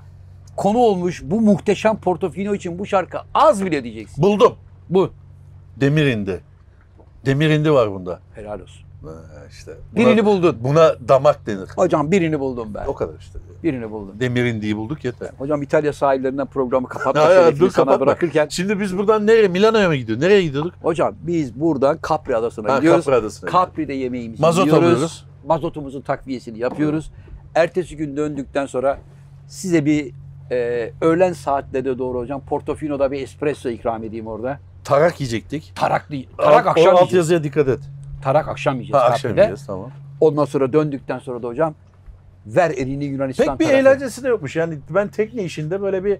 konu olmuş bu muhteşem Portofino için bu şarkı az bile diyeceksin. Buldum. Bu. Demir indi. Demir indi var bunda. Helal olsun. Ha, işte. Buna, Birini buldun. buna damak denir. Hocam birini buldum ben. O kadar işte. Birini buldum. Demir indiği bulduk yeter. Hocam İtalya sahillerinden programı kapatma Ya, ya, şerefini dur, sana kapatma. bırakırken. Şimdi biz buradan nereye? Milano'ya mı gidiyoruz? Nereye gidiyorduk? Hocam biz buradan Capri Adası'na Ha, gidiyoruz. Capri Adası'na Capri'de yemeğimizi Mazot yiyoruz. alıyoruz. Mazotumuzun takviyesini yapıyoruz. Ertesi gün döndükten sonra size bir e, öğlen saatlerine doğru hocam Portofino'da bir espresso ikram edeyim orada. Tarak yiyecektik. Taraklı, tarak Alt- akşam o yiyeceğiz. altyazıya dikkat et. Tarak akşam yiyeceğiz Ha, akşam Capri'de. yiyeceğiz tamam. Ondan sonra döndükten sonra da hocam Ver elini Yunanistan Pek bir tarafına. eğlencesi de yokmuş. Yani ben tekne işinde böyle bir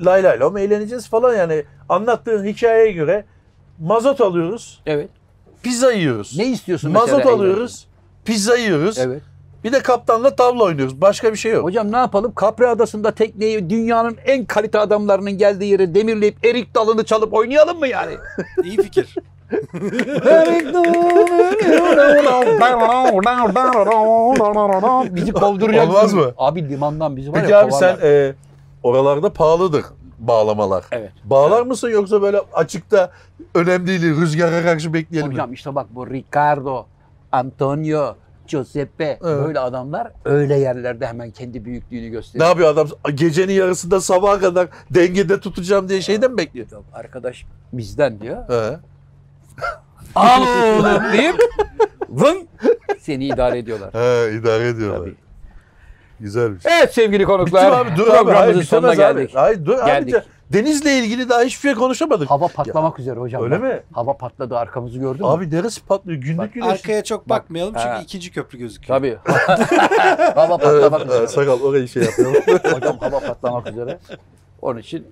lay lay lom eğleneceğiz falan yani. Anlattığın hikayeye göre mazot alıyoruz, Evet. pizza yiyoruz. Ne istiyorsun mesela? mazot eğlenceli? alıyoruz, pizza yiyoruz. Evet. Bir de kaptanla tavla oynuyoruz. Başka bir şey yok. Hocam ne yapalım? Kapri Adası'nda tekneyi dünyanın en kalite adamlarının geldiği yere demirleyip erik dalını çalıp oynayalım mı yani? İyi fikir. bizi kovduracak. Olmaz mı? Abi limandan bizi var Peki ya abi kovarlar. sen e, oralarda pahalıdır bağlamalar. Evet. Bağlar mısın yoksa böyle açıkta önemli değil rüzgara karşı bekleyelim mi? Hocam işte bak bu Ricardo, Antonio, Giuseppe böyle adamlar öyle yerlerde hemen kendi büyüklüğünü Ne gösteriyor. yapıyor adam? Gecenin yarısında sabaha kadar dengede tutacağım diye şeyden mi bekliyor? Yok, arkadaş bizden diyor. He. Al oğlum deyip vın seni idare ediyorlar. He, idare ediyorlar. Tabii. Güzelmiş. Evet sevgili Bitti mi konuklar. abi? şey. Dur abi. Hayır, programımızın bitemez sonuna abi. geldik. Hayır, dur Geldik. abi. Denizle ilgili daha hiçbir şey konuşamadık. Hava patlamak üzere hocam. Öyle bak. mi? Hava patladı arkamızı gördün mü? Abi neresi patlıyor? Günlük Bak, güneş. Arkaya çok bakmayalım çünkü Ha. ikinci köprü gözüküyor. Tabii. hava patlamak Evet, üzere. evet, sakal orayı şey yapıyor. Hocam hava patlamak üzere. Onun için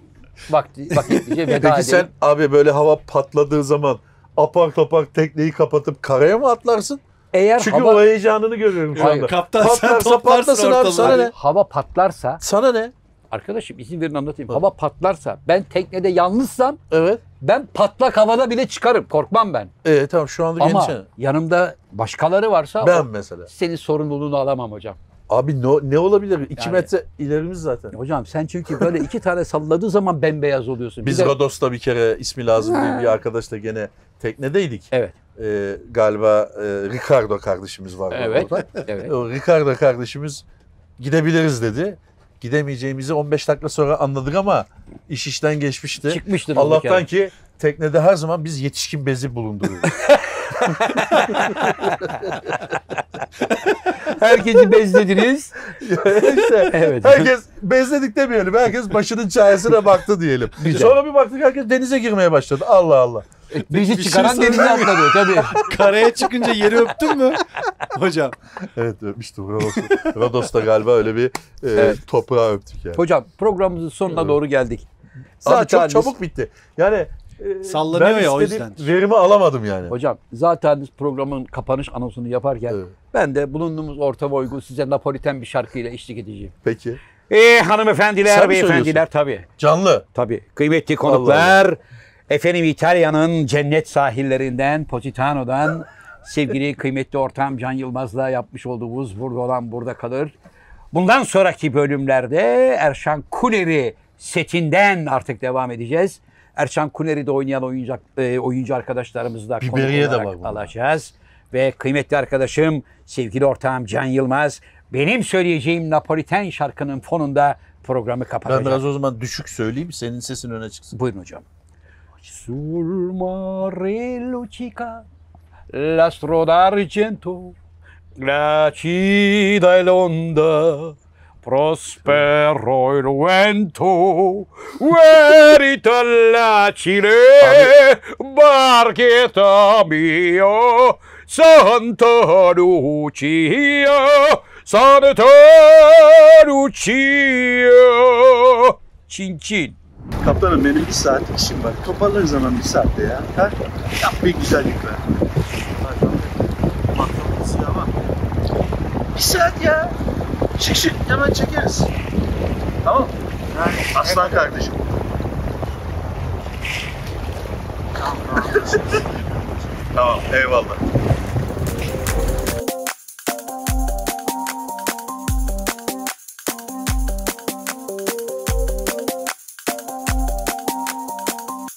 vakti, vakitlice veda E Peki sen edelim. abi böyle hava patladığı zaman apar topar tekneyi kapatıp karaya mı atlarsın? Eğer Çünkü hava, o heyecanını görüyorum şu Hayır. anda. Kaptan sen Patlarsa toplarsın patlasın abi, ortalığı. sana ne? hava patlarsa, Sana ne? arkadaşım izin verin anlatayım. Bak. Hava patlarsa, ben teknede yalnızsam Evet. ben patlak havada bile çıkarım. Korkmam ben. Ee, tamam şu anda Ama genç. yanımda başkaları varsa Ben o- mesela. senin sorumluluğunu alamam hocam. Abi ne, ne olabilir? 2 Yani- metre ilerimiz zaten. Hocam sen çünkü böyle iki tane salladığı zaman bembeyaz oluyorsun. Bir Biz de- Rodos'ta bir kere ismi lazım diye bir arkadaşla gene teknedeydik. Evet. Ee, galiba e, Ricardo kardeşimiz var. Evet. orada. evet. O Ricardo kardeşimiz gidebiliriz dedi. Gidemeyeceğimizi 15 dakika sonra anladık ama iş işten geçmişti. Çıkmıştır bu bir kere. Allah'tan ki teknede her zaman biz yetişkin bezi bulunduruyoruz. Herkesi bezlediniz. işte Evet. herkes bezledik demeyelim. Herkes başının çaresine baktı diyelim. Güzel. Sonra bir baktık herkes denize girmeye başladı. Allah Allah. bir Bizi şey çıkaran söyleyeyim denize atladı tabii. Hani Karaya çıkınca yeri öptün mü? Hocam Evet öpmüştüm Rodos'ta. Rodos'ta galiba öyle bir e, Evet. toprağa öptük yani. Hocam programımızın sonuna doğru geldik. Zaten çok haliniz- çabuk bitti. Yani e, Sallanıyor ben ya, o istediğim yüzden. Verimi alamadım yani. Hocam zaten biz programın kapanış anonsunu yaparken Evet. ben de bulunduğumuz ortama uygun size Napoliten bir şarkıyla eşlik edeceğim. Peki. Ee, hanımefendiler, Sen mi beyefendiler söylüyorsun? tabii. Canlı. Tabii. Kıymetli konuklar. Efendim İtalya'nın cennet sahillerinden, Positano'dan sevgili kıymetli ortam Can Yılmaz'la yapmış olduğumuz Burada Olan Burada Kalır. Bundan sonraki bölümlerde Erşan Kuleri setinden artık devam edeceğiz. Erşan Kuleri'de oynayan oyuncak, e, oyuncu arkadaşlarımızla Biberiye de konuk var olarak bunda. alacağız. Ve kıymetli arkadaşım, sevgili ortağım Can Yılmaz, benim söyleyeceğim Napoliten şarkının fonunda programı Ben kapatacak. biraz o zaman düşük söyleyeyim. Senin sesin öne çıksın. Buyurun hocam. Sul mare luccica l'astro d'argento La cida e l'onda prospero il vento verita la cile barchetta mia Santa Lucia Santa Lucia Cin cin Kaptanım benim bir saatlik işim var. Toparlarız hemen bir saatte ya. Ha? Yap bir güzellik ver. Patlaması ya bak. Bir saat ya. Şık şık hemen çekeriz. Tamam. Yani aslan kardeşim. tamam eyvallah.